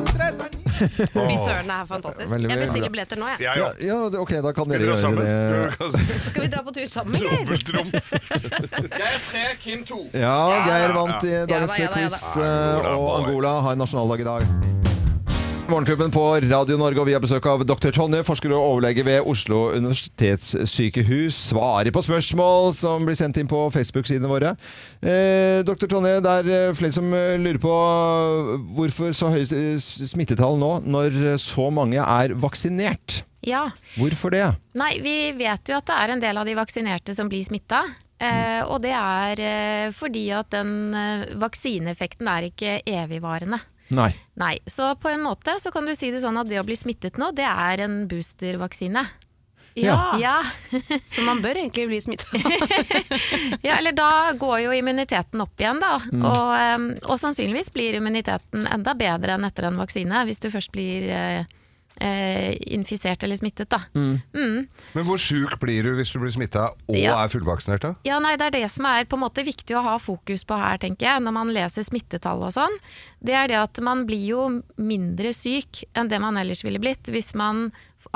Fy søren, det er fantastisk.
Veldig,
Jeg
veldig
bestiller
bra.
billetter nå, jeg.
Jeg
Ja,
òg.
ja, det- ok, da kan dere
Dere
gjøre
sammen.
det.
Skal vi dra på tur sammen, eller?
Dobbeltrom.
Geir 3, Kim 2.
Ja, Geir
ja,
vant i dagens
Ja da, ja da, ja da.
quiz,
Angola,
eh, og
boy.
Angola har nasjonaldag i dag. Morgenklubben på Radio Norge, og vi har besøk av dr. Tonje, forsker og overlege ved Oslo universitetssykehus. Svarer på spørsmål som blir sendt inn på Facebook-sidene våre. Eh, dr. Tonje, det er eh, flere som eh, lurer på eh, hvorfor så høye eh, smittetall nå, når eh, så mange er vaksinert.
Ja.
Hvorfor det?
Nei, vi vet jo at det er en del av de vaksinerte som blir smitta. Eh, og det er eh, fordi at den eh, vaksineeffekten er ikke evigvarende.
Nei.
Nei, så på en måte så kan du si det sånn at det å bli smittet nå, det er en boostervaksine.
Ja.
Ja.
Så man bør egentlig bli smittet.
ja, eller da går jo immuniteten opp igjen, da. Og, eh, og sannsynligvis blir immuniteten enda bedre enn etter en vaksine, hvis du først blir eh, eh, infisert eller smittet. Da. Mm.
Men hvor sjuk blir du hvis du blir smitta og
Ja.
er fullvaksinert? da?
Ja, nei, Det er det som er på en måte viktig å ha fokus på her, tenker jeg, når man leser smittetall og sånn. Det er det at man blir jo mindre syk enn det man ellers ville blitt hvis man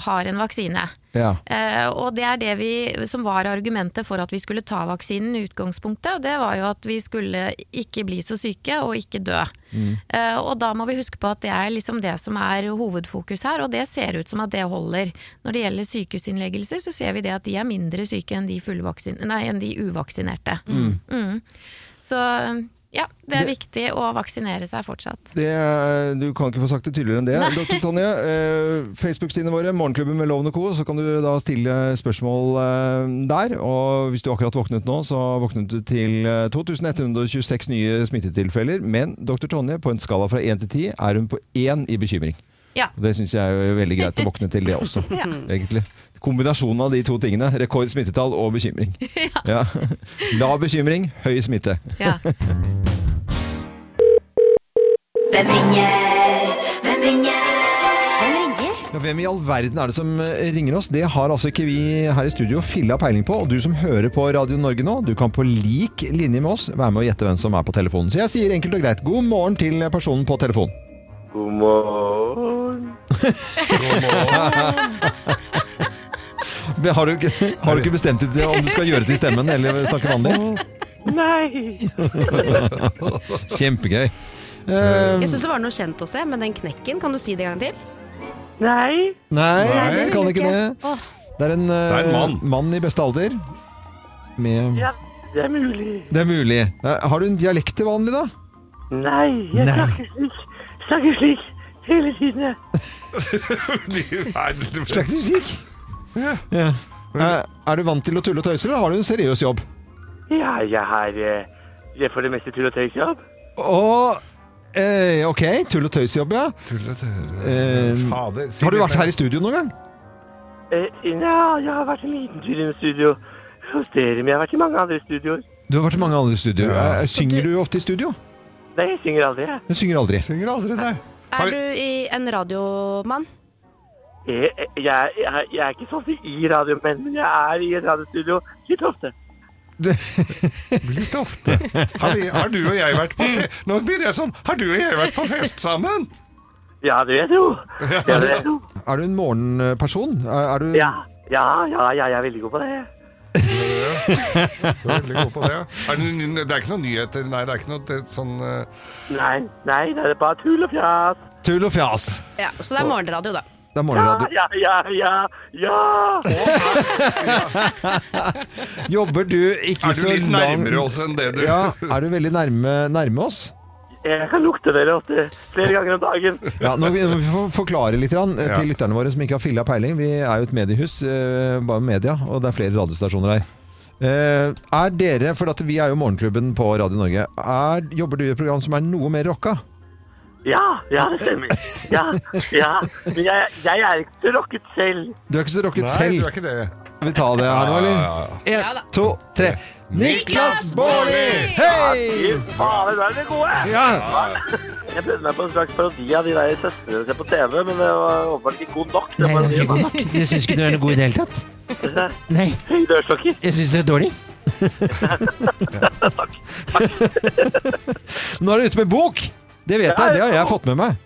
har en vaksine.
Ja.
Eh, og det er det vi, som var argumentet for at vi skulle ta vaksinen i utgangspunktet. Det var jo at vi skulle ikke bli så syke og ikke dø.
Mm.
Eh, og da må vi huske på at det er liksom det som er hovedfokus her, og det ser ut som at det holder. Når det gjelder sykehusinnleggelser, så ser vi det at de er mindre syke enn de, fullvaksin- nei, enn de uvaksinerte.
Mm.
Mm. Så ja, det er
Det-
viktig å vaksinere seg fortsatt.
Det, er- du kan ikke få sagt det tydeligere enn det. Dr. Tonje, eh, Facebook-sidene våre, Morgenklubben med Loven og Co., så kan du da stille spørsmål eh, der. Og hvis du akkurat våknet nå, så våknet du til eh, 2126 nye smittetilfeller. Men dr. Tonje, på en skala fra 1 til 10 er hun på 1 i bekymring.
Ja.
Og Det syns jeg er jo veldig greit å våkne til det også,
Ja.
egentlig. Kombinasjonen av de to tingene. Rekord smittetall og bekymring. Ja. Lav bekymring, høy smitte.
Ja. Hvem ringer? Hvem ringer? Hvem ringer?
Ja, hvem i all verden er det som eh, ringer oss? Det har altså ikke vi her i studio filla peiling på. Og du som hører på Radio Norge nå, du kan på lik linje med oss være med å gjette hvem som er på telefonen. Så jeg sier enkelt og greit god morgen til personen på telefonen.
God morgen.
Men Har du, ikke- har du ikke bestemt deg til om du skal gjøre det til stemmen eller snakke vanlig?
Nei.
Kjempegøy.
Jeg syns det var noe kjent også, jeg, men den knekken, kan du si det en gang til?
Nei.
Nei,
vil
kan
du
ikke det.
Åh,
Det er en, eh,
Det er en mann.
i beste alder. Med
Ja, det er mulig.
Det er mulig. Eh, Har du en dialekt til vanlig, da?
Nei, jeg
Nei.
snakker slik, snakker slik hele tiden. jeg.
Slags musikk?
Ja.
Ja. Eh, Er du vant til å tulle og tøyse, eller har du en seriøs jobb?
Ja, jeg har eh, jeg får det meste tull og tøysjobb.
Og eh, Ok, tull og tøysjobb, ja. Eh,
Fader, si
har du
det
vært
mer.
her i studio noen gang?
Eh, ja, jeg har vært en liten tur i en studio hos dere, men jeg har vært i mange andre studioer.
Du har vært i mange andre studioer.
Ja.
Eh, Synger du ofte i studio?
Nei, jeg synger aldri. jeg.
Du synger aldri.
Synger aldri, nei. Har
er
vi-
du i en radiomann?
Jeg, jeg, jeg, jeg er ikke sånn som i radio, men men jeg er i et radiostudio litt ofte.
Litt ofte. Har, vi, har du og jeg vært på fe Nå blir det sånn. Har du og jeg vært på fest sammen?
Ja, det vet du. Ja, det vet du.
Er du en morgenperson? Er, er du
Ja, ja, ja, ja, jeg er veldig god på det.
Du er veldig god på det. ja. Er det, n- det er ikke noen nyheter? Nei, det er ikke noe det, sånn eh,
Nei, nei, det er bare tull og fjas.
Tull og fjas.
Ja, Så det er morgenradio, da.
Det er morgenradio.
Ja, ja, ja, ja,
Jobber du ikke
Er du
så
litt
lang-
nærmere oss enn det du
Ja, er du veldig nærme, nærme oss?
ja. Jeg kan lukte dere ofte, flere ganger om dagen.
Ja, nå må vi får forklare litt grann, eh,
Ja.
til lytterne våre som ikke har filla peiling. Vi er jo et mediehus, eh, bare media, og det er flere radiostasjoner her. Eh, er dere, for at vi er jo morgenklubben på Radio Norge, er, jobber du i et program som er noe mer rocka?
Ja, ja, det stemmer. Ja, ja. Men jeg, jeg er ikke så rocket selv.
Du er ikke så rocket
Nei,
selv.
du er ikke det.
Skal vi ta det her nå, eller?
Ja, ja,
Én, to, tre. Niklas Baarli!
Fy
Hei!
faen, det er det gode!
Ja.
Jeg prøvde meg på en slags parodi av de der søstrene jeg ser på TV, men det var åpenbart ikke god nok.
Nei, det var ikke god nok. Jeg syns ikke du er noe god i det hele tatt. Nei,
Høydørstokker.
jeg syns du er dårlig. Nå er du ute med bok! Det vet jeg, det har jeg fått med meg.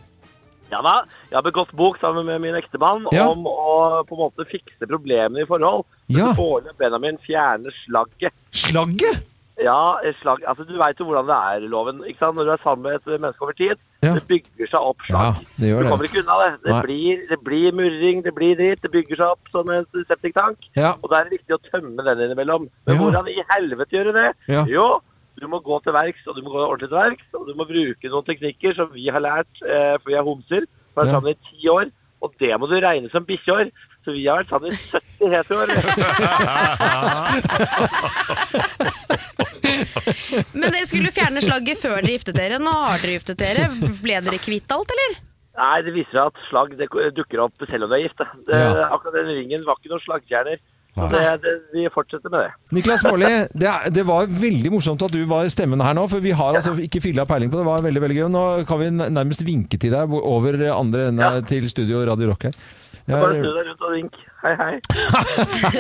Ja da, jeg har begått bok sammen med min ektemann
Ja.
om å på en måte fikse problemene i forhold.
Ja.
Båle og Benjamin fjerner slagget.
Slagget?
Ja, et slag, altså du vet jo hvordan det er, Loven. ikke sant? Når du er sammen med et menneske over tid,
Ja.
det bygger seg opp
Ja,
slag.
det
du
gjør
kommer
det.
ikke unna det. Det
Nei.
blir, det blir murring, det blir dritt, det bygger seg opp som en septiktank.
Ja.
Og da er det viktig å tømme den innimellom. Men
Ja.
hvordan i helvete gjøre det?
Ja.
Jo, du må gå til verks, og du må gå ordentlig til verks, og du må bruke noen teknikker som vi har lært, eh, for vi er homser, vi har vært
Ja.
sammen i ti år, og det må du regne som bikkjeår. Så vi har vært sammen i 70 hete år.
Men dere skulle fjerne slagget før dere giftet dere. Nå har dere giftet dere. Ble dere kvitt alt, eller?
Nei, det viser seg at slag det dukker opp selv om du er gift. da. Det,
Ja.
Akkurat den ringen var ikke noen slagstjerner. Så det, det, vi fortsetter med det.
Niklas Baarli, det, er- det var veldig morsomt at du var stemmen her nå, for vi har altså ikke filla peiling på det. Det var veldig, veldig gøy. Nå kan vi nærmest vinke til deg over andre enden av- til studio Radio Rock her. Ja,
Bare snu deg rundt og vink. Hei, hei.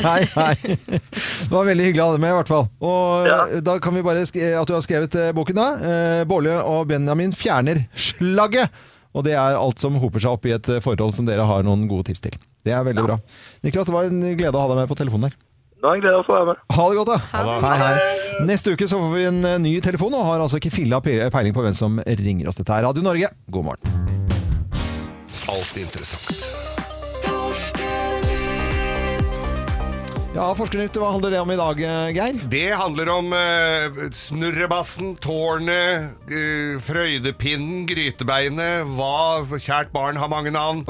hei, hei. Det var veldig hyggelig å ha deg med, i hvert fall. Og eh, Da kan vi bare sk at du har skrevet eh, boken, da. Eh, Bårli og Benjamin fjerner slagget. Og det er alt som hoper seg opp i et eh, forhold som dere har noen gode tips til. Det er veldig bra. Niklas, det var en glede å ha deg med på telefonen her.
Det var en glede å få være med.
Ha det godt, da.
Ha det.
Hei, hei. Neste uke så får vi en eh, ny telefon, og har altså ikke filla pe- peiling på hvem som ringer oss. Dette er Radio Norge. God morgen.
Alt interessant.
Ja, Forskernytt, hva handler det om i dag, eh, Geir?
Det handler om eh, snurrebassen, tårnet, eh, frøydepinnen, grytebeinet, hva Kjært barn har mange navn.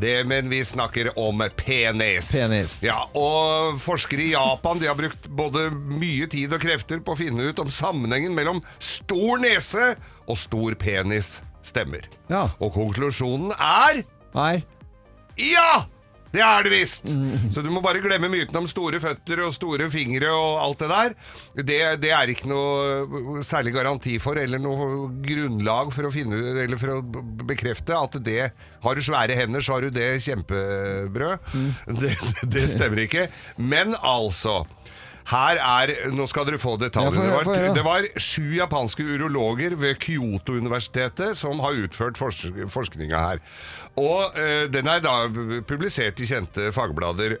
Det, men vi snakker om penis.
Penis.
Ja, og forskere i Japan de har brukt både mye tid og krefter på å finne ut om sammenhengen mellom stor nese og stor penis stemmer.
Ja.
Og konklusjonen er
Nei.
Ja! Det er det visst! Så du må bare glemme myten om store føtter og store fingre og alt det der. Det, det er ikke noe eh, særlig garanti for, eller noe grunnlag for å finne Eller for å b- bekrefte at det Har du svære hender, så har du det kjempebrød. Det, det stemmer ikke. Men altså her er, Nå skal dere få
Ja, få
detaljene.
høre,
Det
få høre.
var, det var sju japanske urologer ved Kyoto-universitetet som har utført forsk forskninga her. Og eh, den er da publisert i kjente fagblader.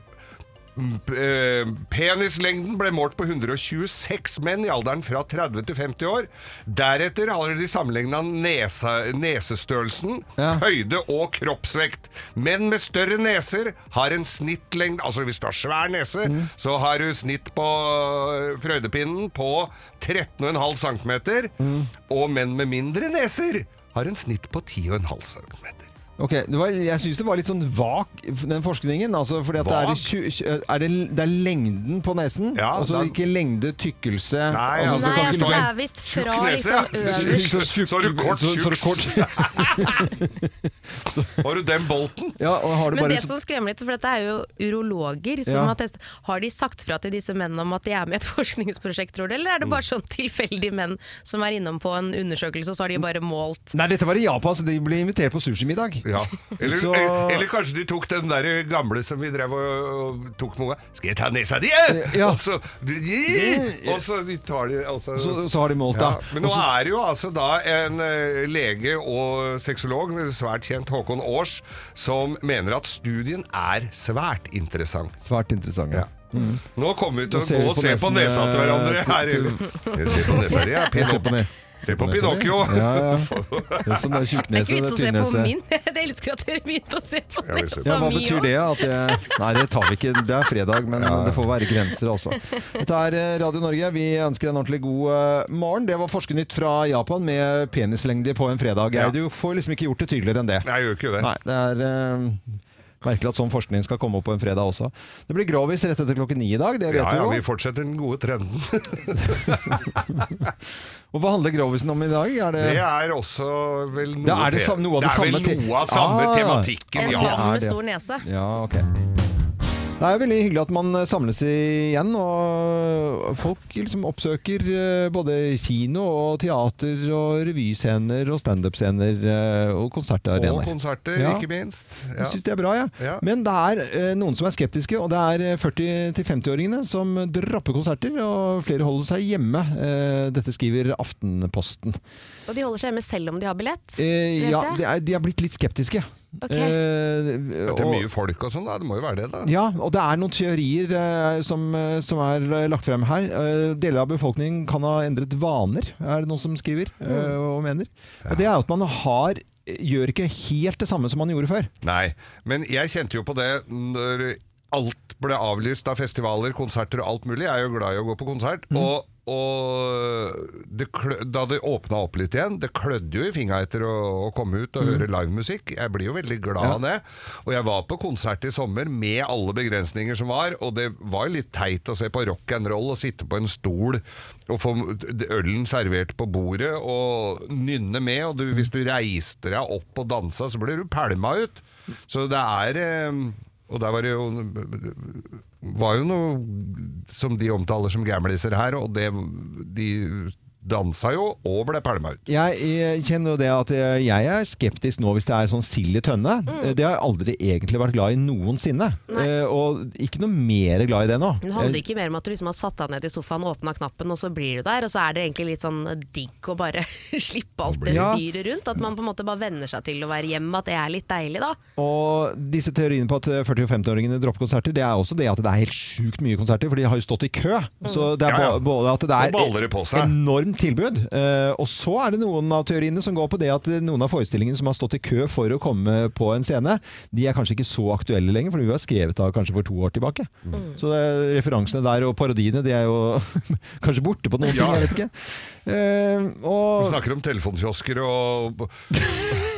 Mm, p- eh, Penislengden ble målt på 126 menn i alderen fra 30 til 50 år. Deretter har de sammenligna nesestørrelsen, høyde og kroppsvekt. Menn med større neser har en snittlengde Altså hvis du har svær nese, så har du snitt på eh, frøydepinnen på 13,5 cm. Og menn med mindre neser har en snitt på 10,5 cm.
Ok, det var, Jeg syns det var litt sånn vag, den forskningen. Altså fordi at det er, i
Vag?
tju- tju- er det, det er lengden på nesen,
Ja,
og så
da-
ikke lengde, tykkelse
Nei,
altså,
altså,
så
Nei,
kan ikke
altså,
man-
det
er visst fra
Tjukk nese, ja.
liksom
Så-
øverst.
så- Så er du kort
Så- så er du
tjukk. Har du den bolten?
Ja, og har du
Men
bare
det som skremmer litt, for dette er jo urologer som
Ja.
har testet. Har de sagt fra til disse mennene om at de er med i et forskningsprosjekt, tror du? Eller er det
Mm.
bare sånn tilfeldige menn som er innom på en undersøkelse, og så har de bare målt
Nei, dette var i Japan, så de ble invitert på sushimiddag.
Ja. Eller,
Så-
eller, eller kanskje de tok den der gamle som vi drev og, og tok med unga. 'Skal jeg ta nesa di?' eh?»
Ja.
Og så
Ja.
Og så de tar de altså,
Så- så har de målt, da.
Men nå
Og så-
er det jo altså da en eh, lege og sexolog, svært kjent Håkon Aars, som mener at studien er svært interessant.
Svært interessant, ja. Mm.
Nå kommer vi til
Nå
å
ser
gå
vi
og
på
se på
nesen,
nesa til hverandre
eh,
her.
til-
Se på nesa di, ja.
Se på ne-
Pinocchio. Se
nesa
på
di. Ja,
Pinocchio.
ja. Det er sånn der
Det er ikke
tjukknese,
vits å
det
se
er
på
tynnese.
min. Jeg elsker at dere begynte å se på
vi ser
nesa
Ja, hva
mi
betyr
også.
det? At jeg... Nei, det tar vi ikke. Det er fredag, men det får være grenser, altså. Dette er eh, Radio Norge. Vi ønsker en ordentlig god eh, morgen. Det var Forskernytt fra Japan med penislengde på en fredag. Geir, Du får liksom ikke gjort det tydeligere enn det.
Jeg gjør ikke det.
Nei, det er eh, merkelig at sånn forskning skal komme opp på en fredag også. Det blir grovis rett etter klokken ni i dag, det vet
ja, ja,
vi
vi
jo.
fortsetter den gode trenden.
Og hva handler grovisen om i dag? Er det...
Det er også vel noe,
Da er det
te-
sam- noe av det samme
Det
te-
er vel noe av samme
Ah,
tematikken,
en
ja.
mann med stor
nese.
Ja, ok. Det er veldig hyggelig at man eh, samles igjen, og folk liksom oppsøker eh, både kino og teater og revyscener og standup-scener eh, og
Og
konsertarenaer.
konserter,
Ja.
ikke minst. Ja.
Jeg syns det er bra, jeg.
Ja.
Men det er eh, noen som er skeptiske, og det er eh, 40-50-åringene som dropper konserter, og flere holder seg hjemme. Eh, Dette skriver Aftenposten.
Og de holder seg hjemme selv om de har billett?
Eh,
leser
ja,
jeg.
de er, de er blitt litt skeptiske.
Ok.
Eh,
Det er
og-
mye folk og sånn, da. Det må jo være det, da.
Ja, og det er noen teorier eh, som, eh, som er eh, lagt frem her. Eh, deler av befolkningen kan ha endret vaner, er det noen som skriver eh,
Mm.
og mener. Og det er jo at man har, gjør ikke helt det samme som man gjorde før.
Nei, men jeg kjente jo på det når alt ble avlyst av festivaler, konserter og alt mulig. Jeg er jo glad i å gå på konsert.
Mm.
Og, og det klø, da det åpna opp litt igjen, det klødde jo i fingra etter å, å komme ut og
Mm.
høre livemusikk. Jeg blir jo veldig glad av det. Og jeg var på konsert i sommer med alle begrensninger som var, og det var jo litt teit å se på rock and roll og sitte på en stol og få ølen servert på bordet og nynne med. Og du, hvis du reiste deg opp og dansa, så ble du pælma ut. Så det er eh, Og der var det jo var jo noe som de omtaler som gamliser her, og det, de dansa jo og ble pælma ut.
Jeg, jeg kjenner jo det at jeg jeg er skeptisk nå hvis det er sånn sild i tønne.
Mm.
Eh, Det har jeg aldri egentlig vært glad i noensinne. Eh, Og ikke noe mer glad i det nå.
Men handler det ikke mer om at du liksom har satt deg ned i sofaen, åpna knappen, og så blir du der, og så er det egentlig litt sånn digg å bare slippe alt det
Ja.
styret rundt? At man på en måte bare venner seg til å være hjemme, at det er litt deilig, da.
Og disse teoriene på at 40- og 50-åringene dropper konserter, det er også det at det er helt sjukt mye konserter, for de har jo stått i kø. Så det er
Ja, ja.
ba- både at det
Og baller
er
det på seg.
enormt tilbud, eh, og så er det noen av teoriene som går på det at noen av forestillingene som har stått i kø for å komme på en scene, de er kanskje ikke så aktuelle lenger, for de var skrevet av kanskje for to år tilbake. Mm. Så det, referansene der og parodiene, de er jo kanskje borte på noen
Ja.
ting, jeg vet ikke. Eh,
Vi
og
snakker om telefonkiosker og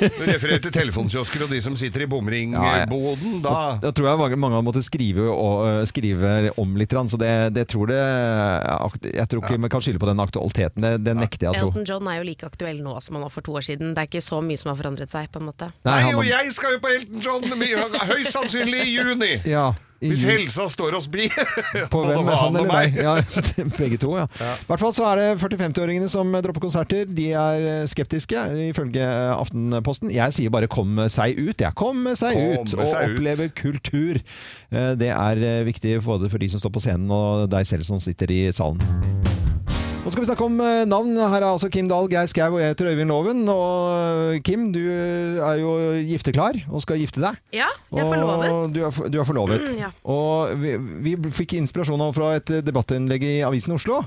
Du refererer til telefonkiosker og de som sitter i bomringboden. Da
Da tror jeg mange, mange har måttet skrive, og, øh, skrive om litt, grann, så det, det tror det eh, Jeg tror ikke man kan skylde på den aktualiteten. Det, det nekter jeg å tro.
Elton John er jo like aktuell nå som han var for to år siden. Det er ikke så mye som har forandret seg, på en måte.
Nei, han-
Og jeg skal jo på Elton John my- høyst sannsynlig i juni!
Ja, i
Hvis
juni.
helsa står oss bi.
På
Både
hvem? Han eller
og meg.
deg? Ja, begge to, ja. I hvert fall så er det 40-50-åringene som dropper konserter. De er øh, skeptiske, ifølge øh, Aftenposten. Jeg sier bare 'kom seg ut'. Jeg kom seg
Kom
ut
seg
og
ut.
opplever kultur. Eh, Det er øh, viktig både for de som står på scenen, og deg selv som sitter i salen. Nå skal vi snakke om eh, navn. Her er altså Kim Dahl, Geir Skau og jeg heter Øyvind Loven. Og eh, Kim, du eh, er jo gifteklar og skal gifte deg.
Ja, jeg er forlovet.
Og Du er, for- du er forlovet.
Mm, ja.
Og vi, vi fikk inspirasjon av- fra et eh, debattinnlegg i Avisen Oslo.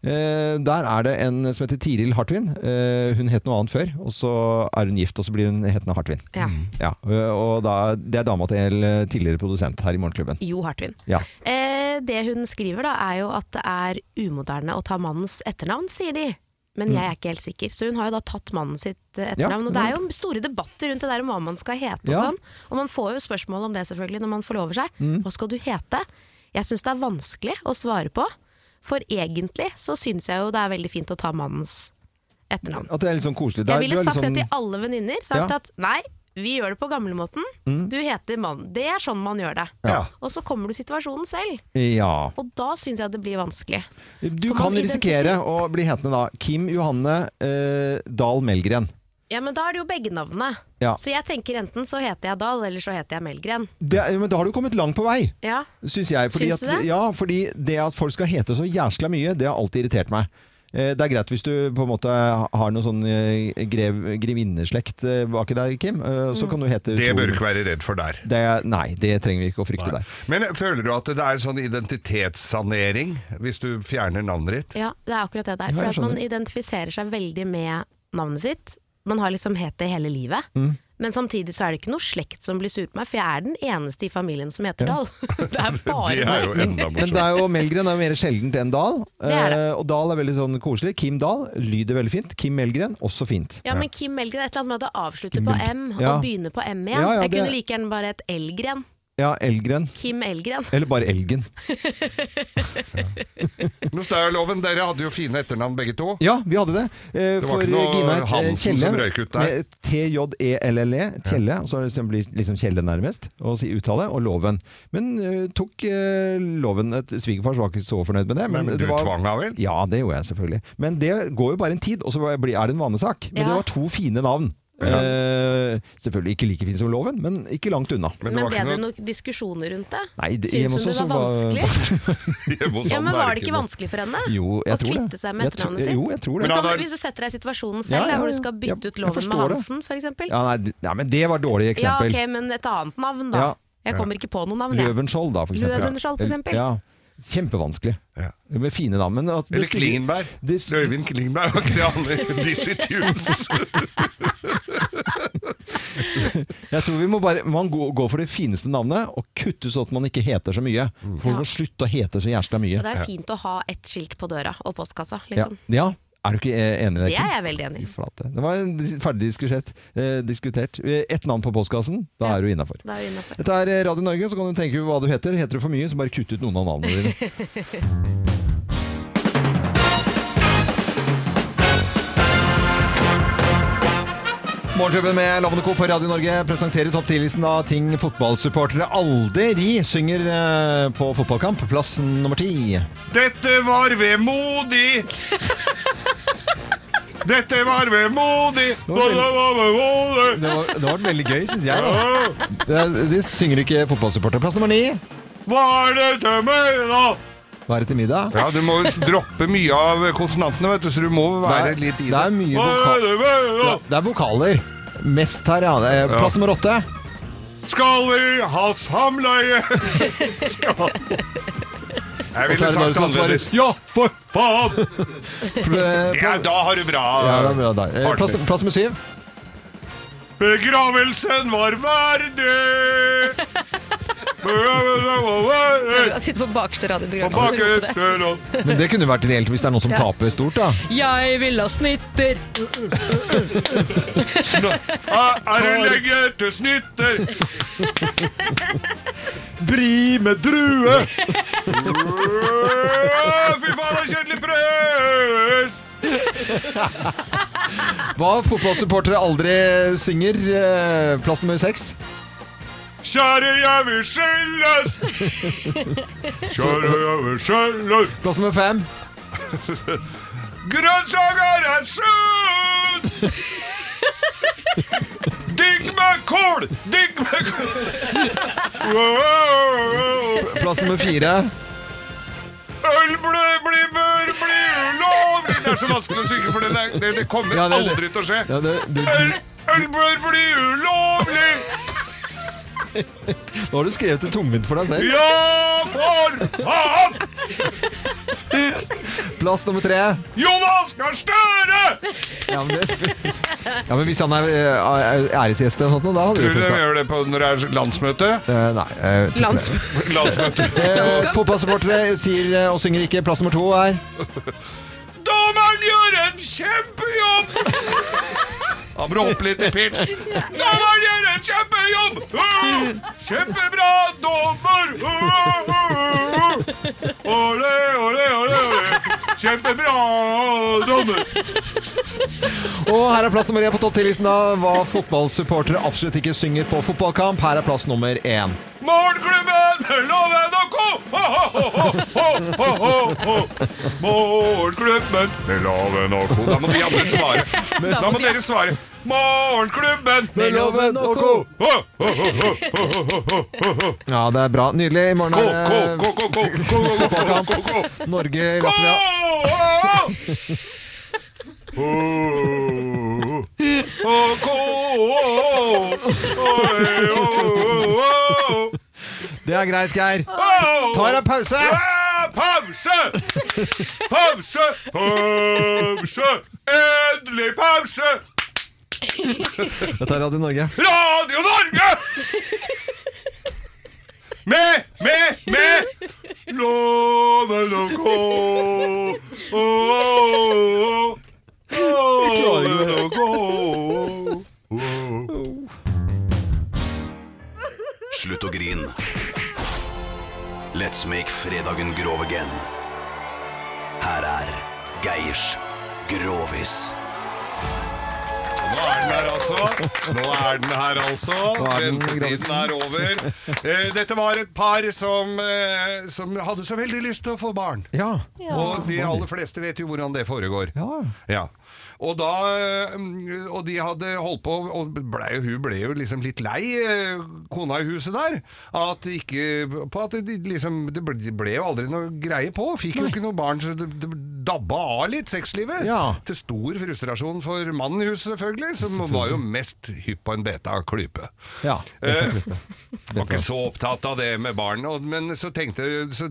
Eh, der er det en som heter Tiril Hartvin. Eh, hun het noe annet før, og så er hun gift, og så blir hun hetende Hartvin.
Ja.
Ja, eh, og da, det er dama til eh, tidligere produsent her i Morgenklubben.
Jo Hartvin.
Ja.
Eh, det hun skriver da, er jo at det er umoderne å ta mannens etternavn, sier de. Men
Mm.
jeg er ikke helt sikker. Så hun har jo da tatt mannen sitt
Ja,
eh, etternavn. og det er jo store debatter rundt det der om hva man skal hete og
Ja.
sånn. Og man får jo spørsmål om det selvfølgelig når man forlover seg.
Mm.
Hva skal du hete? Jeg syns det er vanskelig å svare på. For egentlig så syns jeg jo det er veldig fint å ta mannens etternavn.
At det er litt sånn koselig. Det er-
Jeg
du
ville
er litt
sagt
sånn-
det til alle venninner. Sagt
Ja.
at nei, vi gjør det på gamlemåten.
Mm.
Du heter mann. Det er sånn man gjør det.
Ja.
Og så kommer du i situasjonen selv.
Ja.
Og da syns jeg det blir vanskelig.
Du
For
kan
man
risikere å bli hetende da Kim Johanne eh, Dahl Melgren.
Ja, men da er det jo begge navnene.
Ja.
Så jeg tenker enten så heter jeg Dahl, eller så heter jeg Melgren.
Det, er- men da har du kommet langt på vei,
Ja.
syns jeg. Fordi
Syns du
at,
det?
ja, fordi det at folk skal hete så jæskla mye, det har alltid irritert meg. Eh, Det er greit hvis du på en måte har noe sånn eh, grev, grevinneslekt eh, baki deg, Kim. eh,
Mm.
Så kan du hete
Det
Tor-
bør du ikke være redd for der.
det, Nei, det trenger vi ikke å frykte der.
Men føler du at det er sånn identitetssanering hvis du fjerner navnet ditt?
Ja, det er akkurat det der.
Ja,
For
jeg
at man
skjønner.
identifiserer seg veldig med navnet sitt. Man har liksom hett det hele livet.
Mm.
Men samtidig så er det ikke noe slekt som blir sur på meg, for jeg er den eneste i familien som heter Dahl. Det er bare
Det er jo
meg.
enda
Men det
morsomt.
er jo, Melgren er jo mer sjeldent enn Dahl.
Det er det.
eh, Og Dahl er veldig sånn koselig. Kim Dahl lyder veldig fint. Kim Melgren også fint.
Ja, men Kim Melgren, et eller annet med at det avslutter
Kim
på M
Melgren. Ja.
og begynner på M
Ja,
igjen.
ja,
jeg
det-
kunne like gjerne bare hett Elgren.
Ja, Elgren.
Kim Elgren.
Eller bare Elgen.
Nå står jeg i loven, Dere hadde jo fine etternavn begge to.
Ja, vi hadde det. Eh,
Det var
for
ikke noe
Gina het eh,
Hansen
Kjelle.
som røyk ut der.
Med E T-J-E-L-L-E. Kjelle. Og så liksom blir liksom Kjelle nærmest. Og si uttale. Og Loven. Men eh, tok eh, Loven et Svigerfar var ikke så fornøyd med det.
Men du
det var,
tvang henne vel?
Ja, det gjorde jeg selvfølgelig. Men det går jo bare en tid, og så blir- er det en vanesak. Men
Ja.
det var to fine navn. Eh, selvfølgelig ikke like fine som Loven, men ikke langt unna.
Men, ble det noen diskusjoner rundt det?
Nei, det- hjemme hos
Syns hun det
oss
var
så var-
vanskelig?
Hjemme hos
Ja,
han
men
sånn er
var det ikke
noe.
vanskelig for henne?
Jo, jeg
Å
tror det.
kvitte seg med
Jeg tror-
etternavnet sitt?
jo, jeg tror det. Men
Men kan,
han
du-
har-
hvis du setter deg i situasjonen
Ja,
selv,
ja,
der hvor du
ja.
skal
Jeg-
bytte ut
jeg
loven med
forstår det.
Hansen f.eks.
Ja, nei, det- nei, men det var dårlig
ja,
eksempel.
ok, men et annet navn, da.
Ja.
Jeg kommer ikke på noe navn, jeg.
Løvenskjold, da, for eksempel.
Løvenskjold, for eksempel.
Ja. Kjempevanskelig. Med fine navn. Men at det
Eller
stygge-
Klingenberg. Øyvind Klingenberg var kraner. Dizzie Tunes.
Jeg tror vi må bare Man går, går for det fineste navnet, og kutte sånn at man ikke heter så mye.
Mm.
For
Ja.
man må slutte å hete så jævla mye.
Og det er fint å ha ett skilt på døra og postkassa,
Ja.
liksom.
ja. Er du ikke eh, enig i det?
Det er jeg veldig enig i.
Flate. Det var en di- ferdig diskutert. Eh, diskutert. Eh, Ett navn på postkassen, da er du innafor.
Da er vi innafor.
Dette er eh, Radio Norge, så kan du tenke hva du heter. Heter du for mye, så bare kutt ut noen av navnene dine. Morgenklubben med Lovende Co. på Radio Norge presenterer topp 10-listen av ting fotballsupportere aldri synger eh, på fotballkamp. Plass nummer ti.
Dette var vemodig! Dette var vemodig! Det
var
var
Det var, det var veldig gøy, syns jeg. Da. Det, de synger ikke fotballsupportere. Plass nummer ni.
Hva er det til meg, da?
Hva er det til middag?
Ja, du må droppe mye av konsonantene, vet du, så du må være
Det er-
litt i det.
det er mye vokal-
Hva er det til meg, da?
Ja, det er vokaler. Mest her, ja. Det er Plass nummer åtte.
Skal vi ha samleie? Skal
Og så
Jeg ville
er det noen
sagt
som
annerledes.
svarer, Ja, for
faen!
Ja,
da har du bra.
Ja, det er bra der. Eh,
partner.
Plass, plass nummer syv.
Begravelsen var verdig!
Han sitter på bakste
På
radioprogram og roper det.
bakerste rad.
Men det kunne vært reelt hvis det er noen som
Ja.
taper stort, da.
Jeg vil ha snitter!
Er er du lenge til snitter?
Bri med drue!
Fy faen, det er kjedelig press!
Hva fotballsupportere aldri synger. eh, Plass nummer seks.
Kjære, jeg vil skyldes! Kjære, jeg vil skyldes!
Plass nummer fem.
Grønnsaker er sunt! Digg med kål! Digg med kål!
Plass nummer fire.
Øl ble, bli, bør bli ulovlig! Det er så vanskelig å synge, for det, er- det, det kommer
Ja, det- det-
aldri til å skje.
Ja, det, det,
Øl, øl bør bli ulovlig!
nå har du skrevet det tungvint for deg selv.
Ja, for faen!
Plass nummer tre.
Jonas Gahr Støre!
Ja, men, det, ja, men hvis han er eh, æresgjest eller noe sånt, nå, da hadde
Tror
det
du de
funka.
gjør det på når det er landsmøte?
Eh, nei. eh, tror ikke det.
Landsmøte.
Eh, fotballsupportere sier eh, og synger ikke. Plass nummer to er
Dommeren gjør en kjempejobb! Han må hoppe litt i pitch. Dommeren gjør en kjempejobb! Uh, Kjempebra, dommer! Uh, uh, uh. Ole, ole, ole, ole. Kjempebra, dommer!
Og her er plass nummer én på topp 10-listen av hva fotballsupportere absolutt ikke synger på fotballkamp. Her er plass nummer én.
Morgenklubben med Loven og co. Ho, ho, ho, ho, ho, ho, ho. Morgenklubben med Loven og co. Da må de andre svare. Da må dere svare. Morgenklubben med Loven og co. Ho, ho, ho, ho, ho, ho, ho, ho, ho.
Ja, det er bra. Nydelig. I morgen
Ko,
er
ko,
det
ko, ko, ko, ko, ko, ko, ko, ko.
Norge-Latvia. Det er greit, Geir. Tar en pause.
Eh, Pause! Pause! Pause! Endelig pause!
Dette er Radio Norge.
Radio Norge! Med, med, med Loven og co. Loven og co.
Slutt å grin. Let's make fredagen grov again. Her er Geirs Grovis.
Nå er den her, altså. Nå er den her, altså.
er den
Ventetiden er over. Eh, Dette var et par som, eh, som hadde så veldig lyst til å få barn.
Ja.
Og de aller fleste vet jo hvordan det foregår.
Ja.
Ja. Og, da, eh, og de hadde holdt på, og ble, jo- hun ble jo liksom litt lei, eh, kona i huset der, at det ikke, på at de liksom, det ble- det ble jo aldri noe greie på. Fikk jo ikke noe barn, så det, det dabba av litt sexlivet.
Ja.
Til stor frustrasjon for mannen i huset, selvfølgelig, som var jo mest hypp på en beta-klype.
ja.
Eh, var ikke så opptatt av det med barn. og- Men så, tenkte, så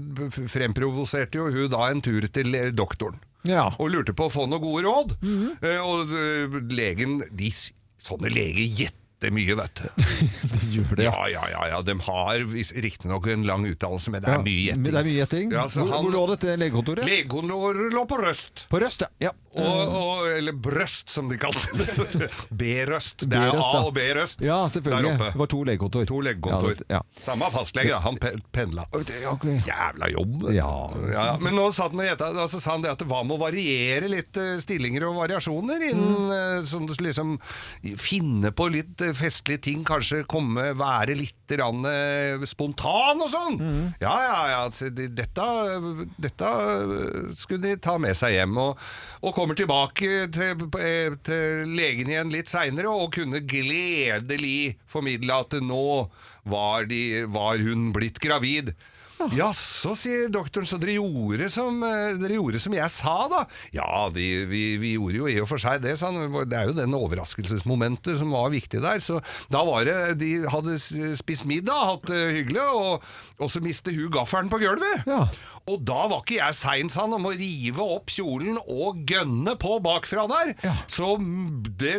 fremprovoserte jo hun da en tur til eh, doktoren.
ja.
Og
Mhm.
lurte på å få noen gode råd. Eh, Og eh, legen de, s- Sånne leger gjetter
fette mye, vet du.
de gjør det,
ja. Ja, ja, ja, De har riktignok en lang utdannelse, men det
Ja,
er mye gjetting.
men det er mye gjetting.
Ja, så
Hvor-
han-
hvor lå dette legekontoret?
Legekontoret lå på Røst.
På Røst, ja. ja.
Og, og, eller Brøst, som de kaller det. B-røst. Det er
B-røst,
A
da.
og B-røst
Ja, selvfølgelig.
der oppe.
Det var to legekontor.
To legekontor. Samme fastlege, da. Han pe- pendla. Jævla jobb. vet du. Ja, ja. Men nå satt han og gjetta, og så sa han det at hva med å variere litt eh, stillinger og variasjoner innen eh, Som du liksom finne på litt eh, festlige ting, kanskje komme, være litt rann, eh, spontan og sånn. Ja, ja, ja. altså, de- Dette, dette eh, skulle de ta med seg hjem. Og, og kommer tilbake til, eh, til legen igjen litt seinere og kunne gledelig formidle at nå var, de, var hun blitt gravid. Jaså, sier doktoren, så dere gjorde, som, eh, dere gjorde som jeg sa, da? Ja, vi, vi, vi gjorde jo i og for seg det, sa han. Det er jo den overraskelsesmomentet som var viktig der. Så da var det De hadde s- spist middag, hatt det hyggelig, og, og så mistet hun gaffelen på gulvet. Og da var ikke jeg sein, sa han, om å rive opp kjolen og gønne på bakfra der. Så mm, det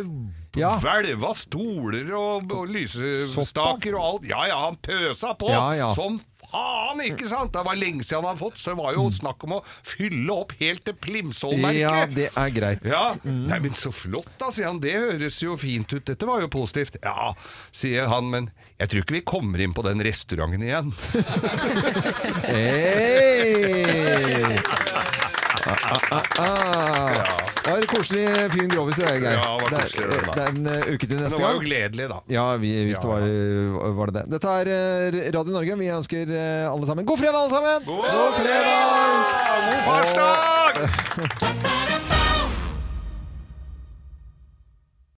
hvelva stoler og, og lysestaker og alt. Ja ja, han pøsa på
Ja, ja.
som faen, ikke sant? Det var lenge siden han hadde fått, så det var jo snakk om å fylle opp helt til Plimsoll-merket.
Ja, det er greit.
Ja, Nei, men så flott da, sier han. Det høres jo fint ut. Dette var jo positivt. Ja, sier han, men jeg tror ikke vi kommer inn på den restauranten igjen.
Hei! Ah, Det var en koselig, fin grovis i deg, Geir.
Ja, det var
Det er-
koselig, det da.
Det er en eh, uke til neste gang.
Det var jo gledelig, da.
Ja, vi, hvis det var, var det det. Dette er eh, Radio Norge. Vi ønsker eh, alle sammen god fredag, alle sammen! God fredag!
God farsdag!